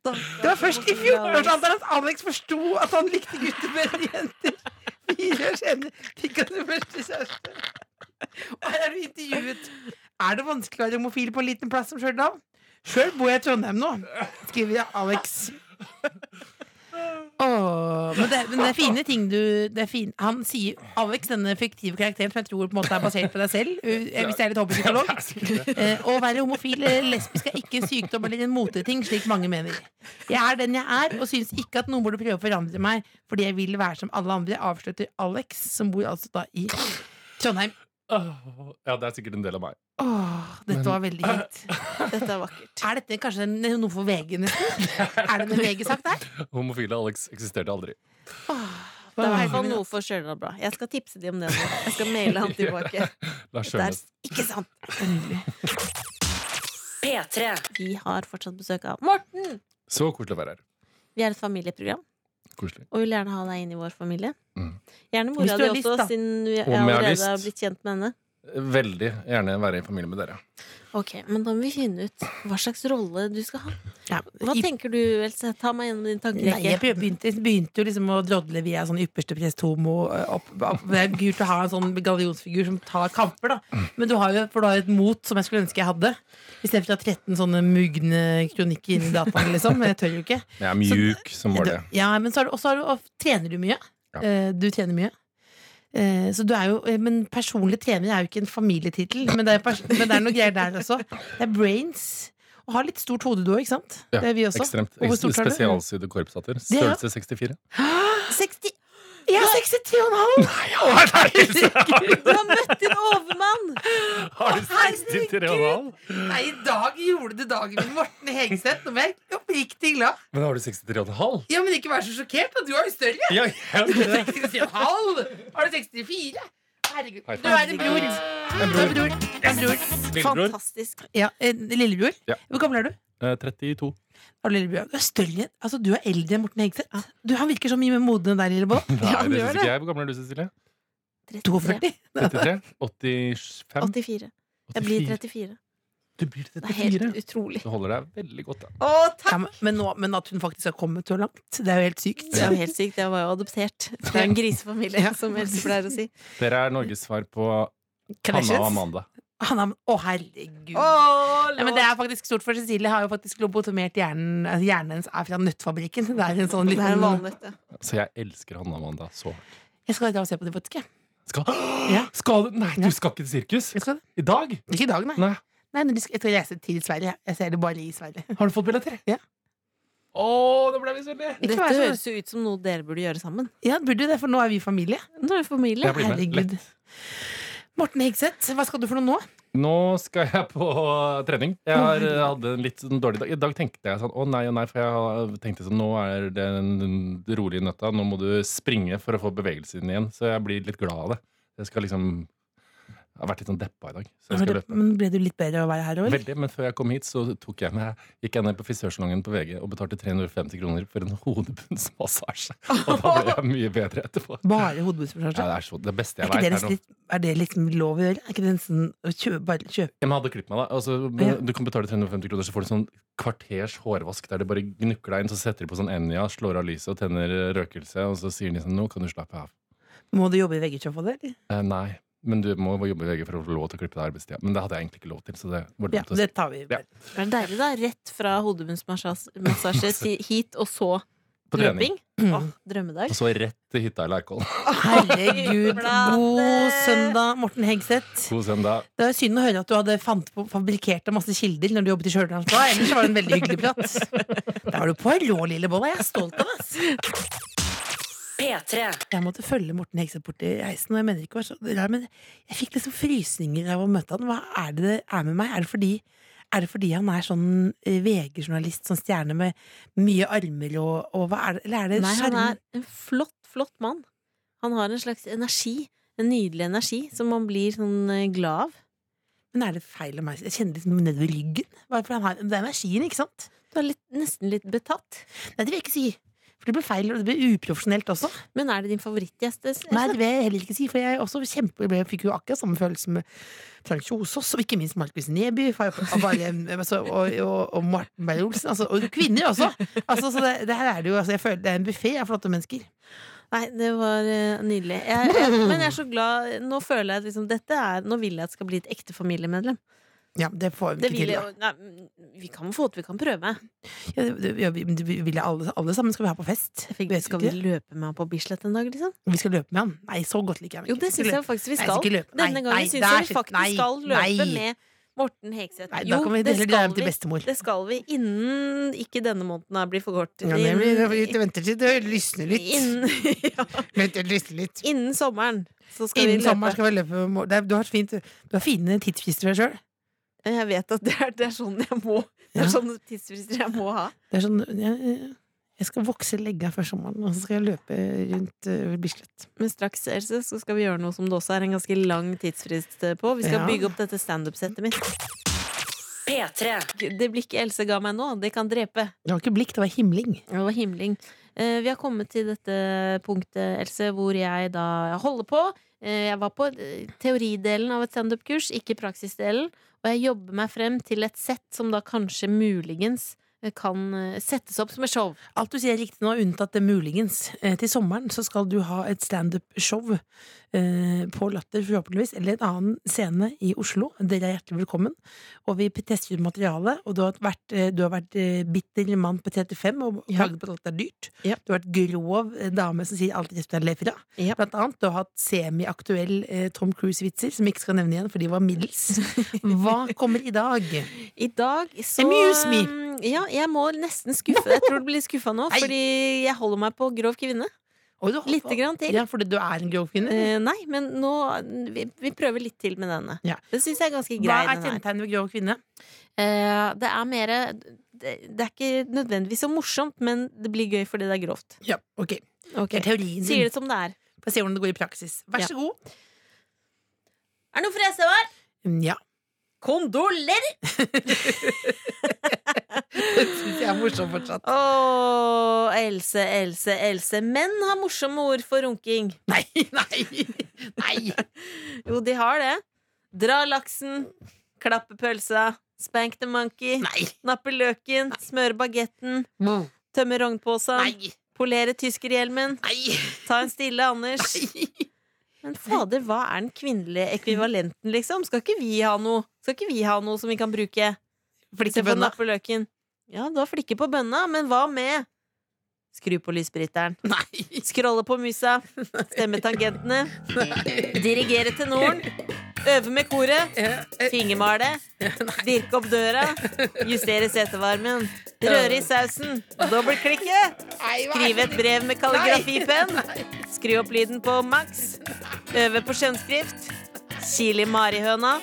Speaker 3: Det var først i 14-årsalderen at Alex forsto at han likte gutter bedre enn jenter. Fire år senere fikk han sin første kjæreste. Og her er du intervjuet. Er det vanskelig å være homofil på en liten plass som Stjørdal? Sjøl bor jeg i Trondheim nå, skriver jeg Alex. Åh, men, det, men det er fine ting du det er fin, Han sier Alex, denne fiktive karakteren som jeg tror på en måte er basert på deg selv, eh, hvis jeg er litt hobbypsykolog. Eh, Å være homofil eller lesbisk er ikke en sykdom eller en moteting, slik mange mener. Jeg er den jeg er, og syns ikke at noen burde prøve å forandre meg fordi jeg vil være som alle andre, avslutter Alex, som bor altså da i Trondheim.
Speaker 7: Åh, Ja, det er sikkert en del av meg.
Speaker 3: Åh, dette var veldig fint.
Speaker 2: Dette er vakkert.
Speaker 3: Er dette kanskje en- noe for VG, nesten? Er det en VG-sak der?
Speaker 7: Homofile Alex eksisterte aldri.
Speaker 2: Det er i hvert fall noe for Stjørdal Blad. Jeg skal tipse de om det nå. Jeg skal maile han tilbake.
Speaker 7: Lars
Speaker 2: Det er
Speaker 7: Sjønes.
Speaker 2: ikke sant.
Speaker 5: P3.
Speaker 2: Vi har fortsatt besøk av Morten.
Speaker 7: Så koselig å være her.
Speaker 2: Vi er et familieprogram
Speaker 7: Koselig.
Speaker 2: og vil gjerne ha deg inn i vår familie.
Speaker 7: Mm.
Speaker 2: Gjerne
Speaker 3: Hvis
Speaker 2: mora
Speaker 3: du
Speaker 2: di
Speaker 3: har lyst,
Speaker 2: også,
Speaker 3: da.
Speaker 2: siden vi jeg
Speaker 7: Om jeg har
Speaker 2: allerede
Speaker 7: lyst.
Speaker 2: har blitt kjent med henne.
Speaker 7: Veldig gjerne være i familie med dere.
Speaker 2: Ok, Men da må vi finne ut hva slags rolle du skal ha. Hva
Speaker 3: I-
Speaker 2: tenker du, Else? Ta meg gjennom din
Speaker 3: Nei,
Speaker 2: tankerekke.
Speaker 3: jeg prøv- begynte, begynte jo liksom å drodle via sånn ypperste prest homo. eh, Opp, opp, det er gult å ha en sånn gallionsfigur som tar kamper, da. Men du har jo for du har jo et mot som jeg skulle ønske jeg hadde. Istedenfor å ha 13 sånne mugne kronikker inni dataen, liksom. Men jeg tør jo ikke.
Speaker 7: Jeg er mjuk som var det.
Speaker 3: Ja, men så er det, også har du, og trener du mye.
Speaker 7: Ja.
Speaker 3: Eh, Du trener mye. Eh, Så du er jo, eh, men personlig trener er jo ikke en familietittel, men, det er pers- men det er noe greier der også. Det er brains. Og har litt stort hode, du òg, ikke sant?
Speaker 7: Ja,
Speaker 3: det er vi også.
Speaker 7: Ekstremt.
Speaker 3: Og hvor stort er du?
Speaker 7: Spesialsydde korpshatter.
Speaker 3: er jo-
Speaker 7: Størrelse 64.
Speaker 2: 60!
Speaker 3: Jeg er 63,5!
Speaker 2: Du har møtt din overmann!
Speaker 7: Har du 63,5?
Speaker 3: Nei, i dag gjorde du dagen min, Morten Hegseth. Nå ble jeg oppriktig glad.
Speaker 7: Men har du 63,5?
Speaker 3: Ja, men ikke vær så sjokkert, da. Du er jo større.
Speaker 7: Ja, jeg er det.
Speaker 3: 63,5. Har du 64? Herregud.
Speaker 7: Hei, faen.
Speaker 3: Du er en bror. Du er en bror. Du er en bror.
Speaker 7: Lillebror?
Speaker 2: Fantastisk.
Speaker 3: Ja, en lillebror.
Speaker 7: Ja.
Speaker 3: Hvor gammel er du?
Speaker 7: Eh, 32.
Speaker 3: Har Du lillebror? Du er større enn- Altså, du er eldre enn Morten Hegseth. Du, han virker så mye mer moden enn deg, lillebolla.
Speaker 7: Nei,
Speaker 2: han
Speaker 7: det
Speaker 2: gjør
Speaker 7: syns
Speaker 2: det.
Speaker 7: ikke jeg. Hvor gammel er du, Cecilie?
Speaker 3: 42.
Speaker 7: 33? 85?
Speaker 2: 84. Jeg blir 34.
Speaker 7: Du blir
Speaker 2: Det er helt utrolig.
Speaker 7: Du holder deg veldig godt, da.
Speaker 2: Å,
Speaker 3: Ja,
Speaker 2: takk!
Speaker 3: men, men nå, men at hun faktisk har kommet så langt, det er jo helt sykt.
Speaker 2: Det er jo helt sykt. Jeg var jo adoptert. Det er en grisefamilie, som Else pleier å si.
Speaker 7: Dere er Norges svar på Hanna og
Speaker 3: Kardashians.
Speaker 7: Amanda.
Speaker 3: Han er, å, herregud. Ja, men det er faktisk stort, for Cecilie har jo faktisk lobotomert hjernen altså Hjernen hennes er fra Nøttfabrikken. Det er en sånn
Speaker 2: Det er en
Speaker 3: liten
Speaker 2: valnøtt, ja.
Speaker 7: Så jeg elsker Hanna og Amanda så hardt.
Speaker 3: Jeg skal dra og se på det, faktisk. jeg.
Speaker 7: Skal,
Speaker 3: Ja.
Speaker 7: skal du Nei, du
Speaker 3: Ja.
Speaker 7: skal ikke til sirkus?
Speaker 3: Jeg skal det.
Speaker 7: I dag?
Speaker 3: Ikke i dag, nei.
Speaker 7: Nei.
Speaker 3: nei men de skal- jeg skal reise til Sverige. Jeg ser det bare i Sverige.
Speaker 7: Har du fått billetter?
Speaker 3: Ja.
Speaker 7: Å, det ble misunnelig!
Speaker 3: Ikke
Speaker 2: Dette
Speaker 3: vær så-
Speaker 2: høres jo ut som noe dere burde gjøre sammen.
Speaker 3: Ja, burde det, for nå er vi familie.
Speaker 2: Nå er vi familie.
Speaker 7: Jeg blir med.
Speaker 3: Herregud. Morten Hegseth, hva skal du for noe nå?
Speaker 7: Nå skal jeg på trening. Jeg har, eh, hadde en litt sånn dårlig dag. I dag tenkte jeg sånn å nei, å nei, for jeg har- tenkte sånn nå er det den rolige nøtta. Nå må du springe for å få bevegelsen inn igjen. Så jeg blir litt glad av det. Jeg skal liksom Jeg har vært litt sånn deppa i dag. Så jeg skal løpe.
Speaker 3: Men ble du litt bedre av å være her òg?
Speaker 7: Veldig, men før jeg kom hit, så tok jeg med, gikk jeg ned på frisørsalongen på VG og betalte 350 kroner for en hodebunnsmassasje. Og da ble jeg mye bedre etterpå.
Speaker 3: Bare
Speaker 7: Ja,
Speaker 3: hodebunnsmassasje?
Speaker 7: det er så, det beste
Speaker 3: Er
Speaker 7: jeg
Speaker 3: ikke det
Speaker 7: vet. er
Speaker 3: nesten
Speaker 7: noe-
Speaker 3: litt, er det liksom lov å gjøre? Er ikke det nesten å kjøpe, bare kjøpe
Speaker 7: Ja, men hadde klippet meg da altså,
Speaker 3: Ja.
Speaker 7: Du kan betale 350 kroner, så får du sånn kvarters hårvask der de bare gnukker deg inn, så setter de på sånn Enya, slår av lyset og tenner eh, røkelse, og så sier de sånn Nå kan du slappe av.
Speaker 3: Må du jobbe i VG for å få det, eller?
Speaker 7: Eh, nei. Men du må jobbe i VG for å få lov til å klippe deg i arbeidstida. Men det hadde jeg egentlig ikke lov til. Så det
Speaker 3: Ja,
Speaker 7: var dumt å si.
Speaker 3: det tar vi.
Speaker 7: Ja.
Speaker 2: Det er deilig, da. Rett fra hodebunnsmassasje til- hit, og så
Speaker 7: På trening.
Speaker 2: løping. Åh,
Speaker 3: Mm.
Speaker 2: drømmedag.
Speaker 7: Og så rett til hytta i Leirkoll.
Speaker 3: Herregud,
Speaker 2: Flate.
Speaker 3: god søndag, Morten Hegseth.
Speaker 7: God søndag.
Speaker 3: Det er synd å høre at du hadde fant på, fabrikkert deg masse kilder når du jobbet i Stjørdalsbladet. Ellers var det en veldig hyggelig prat. Der var du på rå, lille bolla. Jeg er stolt av deg. ass.
Speaker 5: P3.
Speaker 3: Jeg måtte følge Morten Hegseth bort i heisen, og jeg mener ikke å være så rar, men jeg fikk liksom frysninger av å møte han. Hva er det det er med meg? Er det fordi er det fordi han er sånn eh, VG-journalist, sånn stjerne med mye armer og, og hva er det? Eller er det
Speaker 2: Nei, han
Speaker 3: sjarm-
Speaker 2: er en flott, flott mann. Han har en slags energi. En nydelig energi som man blir sånn eh, glad av.
Speaker 3: Men er det feil av meg? Jeg kjenner litt nedover ryggen. Bare for han har, det er energien, ikke sant?
Speaker 2: Du er litt, nesten litt betatt.
Speaker 3: Nei, det vil jeg ikke si. For det blir feil, og det blir uprofesjonelt også.
Speaker 2: Men er det din favorittgjest?
Speaker 3: Nei, det vil jeg heller ikke si, for jeg også kjempe, ble- fikk jo akkurat samme følelse med Frank Kjosås, og ikke minst Markus Neby, for- og, bare, altså, og, og, og Martin Beyer-Olsen, altså, og kvinner også. Altså, så det, det her er det jo, altså, jeg føler det er en buffé av flotte mennesker.
Speaker 2: Nei, det var eh, nydelig. Jeg, jeg, men jeg er så glad Nå føler jeg at liksom, dette er Nå vil jeg at det skal bli et ekte familiemedlem.
Speaker 3: Ja, det får vi
Speaker 2: Det
Speaker 3: ikke
Speaker 2: vil
Speaker 3: til.
Speaker 2: jeg,
Speaker 3: da.
Speaker 2: jo- nei, mm, vi kan få til, vi kan prøve.
Speaker 3: Ja, det, det, ja, vi- men det vil jeg alle, alle sammen skal vi ha på fest. Vet
Speaker 2: Skal
Speaker 3: du
Speaker 2: vi
Speaker 3: ikke?
Speaker 2: løpe med han på Bislett en dag, liksom?
Speaker 3: vi skal løpe med han. Nei, så godt liker jeg han
Speaker 2: Jo,
Speaker 3: ikke.
Speaker 2: det
Speaker 3: Skal
Speaker 2: syns
Speaker 3: løpe.
Speaker 2: jeg faktisk vi
Speaker 3: Nei,
Speaker 2: skal.
Speaker 3: skal ikke løpe. Nei,
Speaker 2: Denne
Speaker 3: nei,
Speaker 2: gangen syns
Speaker 3: der
Speaker 2: jeg vi
Speaker 3: sitter-
Speaker 2: faktisk
Speaker 3: nei,
Speaker 2: skal løpe
Speaker 3: nei.
Speaker 2: med Morten Hegseth.
Speaker 3: Nei, da
Speaker 2: Jo,
Speaker 3: kan vi
Speaker 2: det
Speaker 3: heller dra
Speaker 2: skal
Speaker 3: hjem til
Speaker 2: vi.
Speaker 3: bestemor.
Speaker 2: Det skal vi innen ikke denne måneden her blir for kort.
Speaker 3: Ja, det blir, vi venter til det lysner litt.
Speaker 2: innen, ja,
Speaker 3: Vent, det lysner litt.
Speaker 2: innen sommeren så skal vi
Speaker 3: Innen
Speaker 2: løpe.
Speaker 3: sommeren skal vi løpe. med mor- Det er- Du har, et fint, du har fine tidsfrister sjøl.
Speaker 2: Jeg vet at det er, det er sånn jeg må Det
Speaker 3: Ja.
Speaker 2: er sånne tidsfrister jeg må ha.
Speaker 3: Det er sånn jeg, jeg skal vokse legga før sommeren, og så skal jeg løpe rundt uh, Bislett.
Speaker 2: Men straks Else, så skal vi gjøre noe som det også er en ganske lang tidsfrist eh, på. Vi skal
Speaker 3: Ja.
Speaker 2: bygge opp dette standup-settet mitt.
Speaker 5: P3.
Speaker 2: Det blikket Else ga meg nå, det kan drepe.
Speaker 3: Det var ikke blikk, det var himling.
Speaker 2: Det var himling. Eh, Vi har kommet til dette punktet, Else, hvor jeg da holder på. Eh, Jeg var på eh, teoridelen av et standup-kurs, ikke praksisdelen. Og jeg jobber meg frem til et sett som da kanskje muligens eh, kan eh, settes opp som et show.
Speaker 3: Alt du sier er riktig nå, unntatt det muligens. Eh, til sommeren så skal du ha et standup-show eh, på Latter, forhåpentligvis, eller en annen scene i Oslo. Dere er hjertelig velkommen. Og vi tester ut materialet, og du har vært, eh, du har vært eh, bitter mann på 35 og
Speaker 2: Ja.
Speaker 3: klaget på at alt er dyrt.
Speaker 2: Ja.
Speaker 3: Du har vært grov eh, dame som sier alt resten er lefra.
Speaker 2: Ja.
Speaker 3: Blant annet, du har hatt semiaktuell eh, Tom Cruise-vitser, som jeg ikke skal nevne igjen, for de var middels. Hva kommer i dag?
Speaker 2: I dag så
Speaker 3: Amuse me.
Speaker 2: um, Ja, jeg må nesten skuffe. Jeg tror du blir skuffa nå,
Speaker 3: Nei.
Speaker 2: fordi jeg holder meg på grov kvinne.
Speaker 3: Oi, du-
Speaker 2: Lite grann til.
Speaker 3: Ja, fordi du er en grov kvinne.
Speaker 2: Eh, nei, men nå vi, vi prøver litt til med denne.
Speaker 3: Ja.
Speaker 2: Det syns jeg er ganske grei.
Speaker 3: Hva er
Speaker 2: den her.
Speaker 3: kjennetegnet ved grov kvinne?
Speaker 2: Eh, det er mer det, det er ikke nødvendigvis så morsomt, men det blir gøy fordi det er grovt.
Speaker 3: Ja, ok. Det er teorien
Speaker 2: Sier
Speaker 3: din.
Speaker 2: det som det er.
Speaker 3: Får se hvordan det går i praksis. Vær
Speaker 2: Ja.
Speaker 3: så god.
Speaker 2: Er det noe frese her?
Speaker 3: Mm, Ja.
Speaker 2: Kondolerer!
Speaker 3: Det syns jeg er morsomt fortsatt.
Speaker 2: Å, Else, Else, Else. Menn har morsomme ord for runking.
Speaker 3: Nei, nei! Nei!
Speaker 2: Jo, de har det. Dra laksen, klappe pølsa, spank the monkey,
Speaker 3: Nei!
Speaker 2: nappe løken, smøre bagetten,
Speaker 3: Nei!
Speaker 2: tømme rognposen,
Speaker 3: Nei!
Speaker 2: polere tyskerhjelmen, ta en stille Anders. Men fader, hva er den kvinnelige ekvivalenten, liksom? Skal ikke vi ha noe, Skal ikke vi ha noe som vi kan bruke? Se på
Speaker 3: Flikkebønna.
Speaker 2: nappe løken. Ja, du har flikke på bønna, men hva med Skru på lysbryteren.
Speaker 3: Nei!
Speaker 2: Skrolle på musa. Stemme tangentene. Dirigere tenoren. Øve med koret.
Speaker 3: Eh, eh,
Speaker 2: Fingermale, dirke opp døra, justere setevarmen, røre i sausen, dobbeltklikke,
Speaker 3: Nei, hva er
Speaker 2: skrive et
Speaker 3: det?
Speaker 2: brev med kalligrafipenn, skru opp lyden på maks, øve på skjønnskrift, kile i marihøna.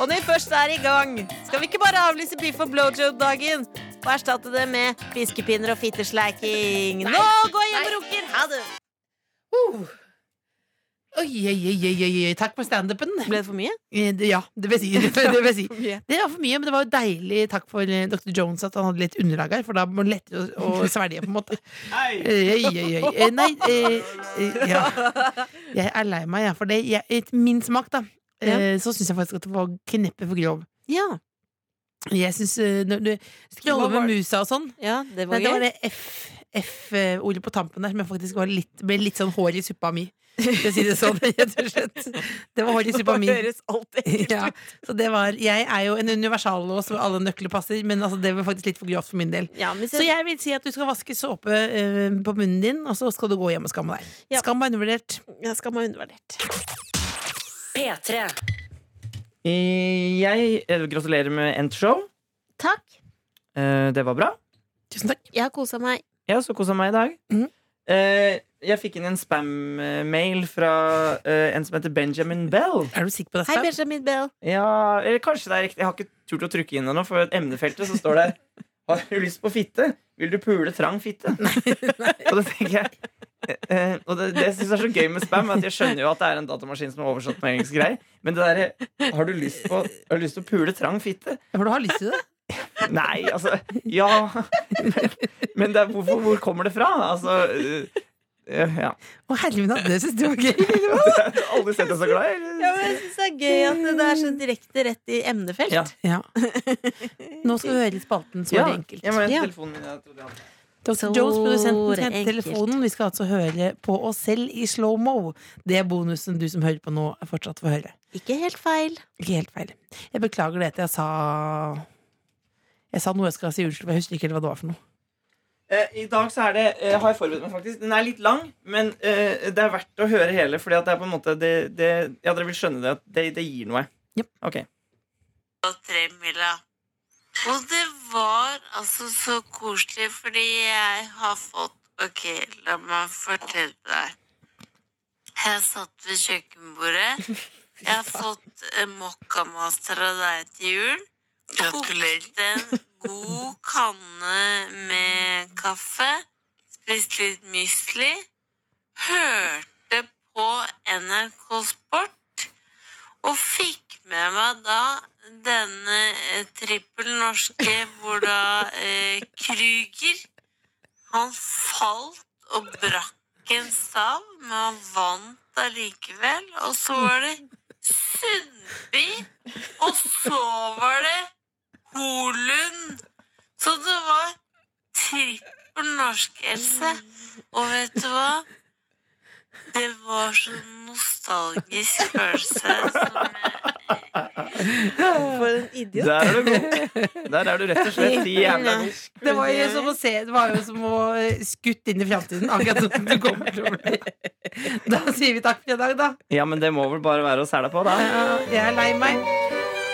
Speaker 2: Og når vi først er i gang, skal vi ikke bare avlyse biff og blowjob-dagen og erstatte det med fiskepinner og fittesleiking. Nå går jeg hjem og runker! Ha det!
Speaker 3: Uh. Oi, oi, oi, oi, oi, oi. Takk for standupen.
Speaker 2: Ble det for mye?
Speaker 3: Eh, det- Ja, det vil si. Det vil si.
Speaker 2: For mye.
Speaker 3: Det var for mye, men det var jo deilig. Takk for eh, dr. Jones at han hadde litt underlag her, for da var det lettere å, å svelge, på en måte.
Speaker 6: Hei!
Speaker 3: Oi, oi, oi. Eh, Nei, eh, eh, ja. Jeg er lei meg, jeg, for det. Jeg, etter min smak, da, eh, så syns jeg faktisk at det var kneppet for grov.
Speaker 2: Ja,
Speaker 3: Jeg syns Skrolle
Speaker 2: Hva var
Speaker 3: med musa og sånn.
Speaker 2: ja det
Speaker 3: Nei,
Speaker 2: var
Speaker 3: det var
Speaker 2: gøy.
Speaker 3: det F. F-ordet på tampen der, som jeg faktisk var litt, ble litt sånn hår i suppa mi. For å si det sånn, rett og slett. Det var hår i suppa mi.
Speaker 2: høres alt ekkelt
Speaker 3: Ja, så det var, jeg er jo en universallås hvor alle nøkler passer, men altså, det var faktisk litt for grovt for min del.
Speaker 2: Ja, men
Speaker 3: Så jeg vil si at du skal vaske såpe eh, på munnen din, og så skal du gå hjem og skamme deg.
Speaker 2: Ja.
Speaker 3: Skam er undervurdert.
Speaker 2: jeg skal være undervurdert.
Speaker 5: P3.
Speaker 8: Eh, Jeg eh, gratulerer med endt show.
Speaker 2: Takk.
Speaker 8: Eh, Det var bra.
Speaker 3: Tusen takk.
Speaker 2: Jeg har kosa meg.
Speaker 8: Jeg har også kosa meg i dag.
Speaker 3: Mhm.
Speaker 8: Eh, Jeg fikk inn en spam-mail fra eh, en som heter Benjamin Bell.
Speaker 3: Er du sikker på det?
Speaker 2: Hei,
Speaker 3: Stan?
Speaker 2: Benjamin Bell.
Speaker 8: Ja, eller kanskje det er riktig. Jeg har ikke turt å trykke inn ennå, for i emnefeltet så står det Har du lyst på fitte? Vil du pule trang fitte? Og det tenker jeg eh, Og det, det jeg synes er så gøy med spam, er at jeg skjønner jo at det er en datamaskin som er oversatt med engelsk greier, men det derre Har du lyst på Har du lyst til å pule trang fitte?
Speaker 3: For du har lyst til det?
Speaker 8: Nei, altså Ja. Men, men det er, hvorfor, hvor kommer det fra? Altså eh, Ja.
Speaker 3: Å, herre min hatt, det syns du var gøy.
Speaker 8: Jeg har aldri sett deg så glad. eller?
Speaker 2: Ja, men jeg syns det er gøy at det er så direkte rett i emnefelt.
Speaker 8: Ja.
Speaker 3: Ja. Nå skal vi høre litt spalten som
Speaker 8: Ja,
Speaker 3: er enkelt.
Speaker 8: jeg mener
Speaker 2: Ja.
Speaker 8: telefonen min jeg trodde jeg hadde.
Speaker 3: Dr.
Speaker 2: Så
Speaker 3: Jones, produsenten, skal hente
Speaker 2: enkelt.
Speaker 3: telefonen. Vi skal altså høre på oss selv i slow-mo. Det er bonusen du som hører på nå, er fortsatt får høre.
Speaker 2: Ikke helt feil.
Speaker 3: Ikke helt feil. Jeg beklager det at jeg sa Jeg sa noe jeg skal si unnskyld for. Jeg husker ikke helt hva det var for noe.
Speaker 8: Eh, I dag så er det, eh, har jeg forberedt meg faktisk Den er litt lang, men eh, det er verdt å høre hele Fordi at det er på en måte det, det, Ja, dere vil skjønne det, at det, det gir noe
Speaker 3: Japp.
Speaker 8: Ok.
Speaker 9: Og det var altså så koselig, fordi jeg har fått Ok, la meg fortelle deg. Jeg satt ved kjøkkenbordet. Jeg har fått eh, mokkamaster av deg til jul. Gratulerer. Kokte en god kanne med kaffe. Spiste litt mysli. Hørte på NRK Sport. Og fikk med meg da denne eh, trippel norske, hvor da eh, Krüger Han falt og brakk en stav, men han vant allikevel. Og så var det Sundby, og så var det Holund. Så det var trippel norsk, Else. Og vet du hva? Det var så nostalgisk følelse som jeg
Speaker 2: For en idiot.
Speaker 8: Der er du god Der er du rett og slett i jævla god
Speaker 3: Det var jo som å se Det var jo som å eh, skutt inn i framtiden. Akkurat som du kommer til å bli. Da sier vi takk for i dag, da.
Speaker 8: Ja, men det må vel bare være å sæle på da
Speaker 3: Ja, Jeg er lei meg.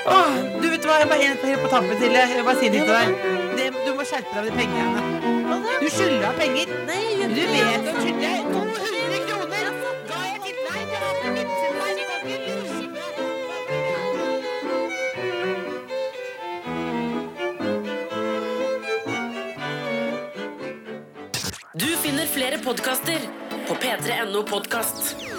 Speaker 3: Åh, du vet hva, jeg bare helt, helt på tampen til det. Jeg bare sier det til deg. Det, du må skjerpe deg med de pengene. Du skylder meg penger.
Speaker 2: Nei, jeg gjør
Speaker 3: Du
Speaker 2: ikke det.
Speaker 3: vet du skylder deg 200 kroner. Ga jeg til deg? Det var på mitt selvverd.
Speaker 5: Du finner flere podkaster på p3.no podkast.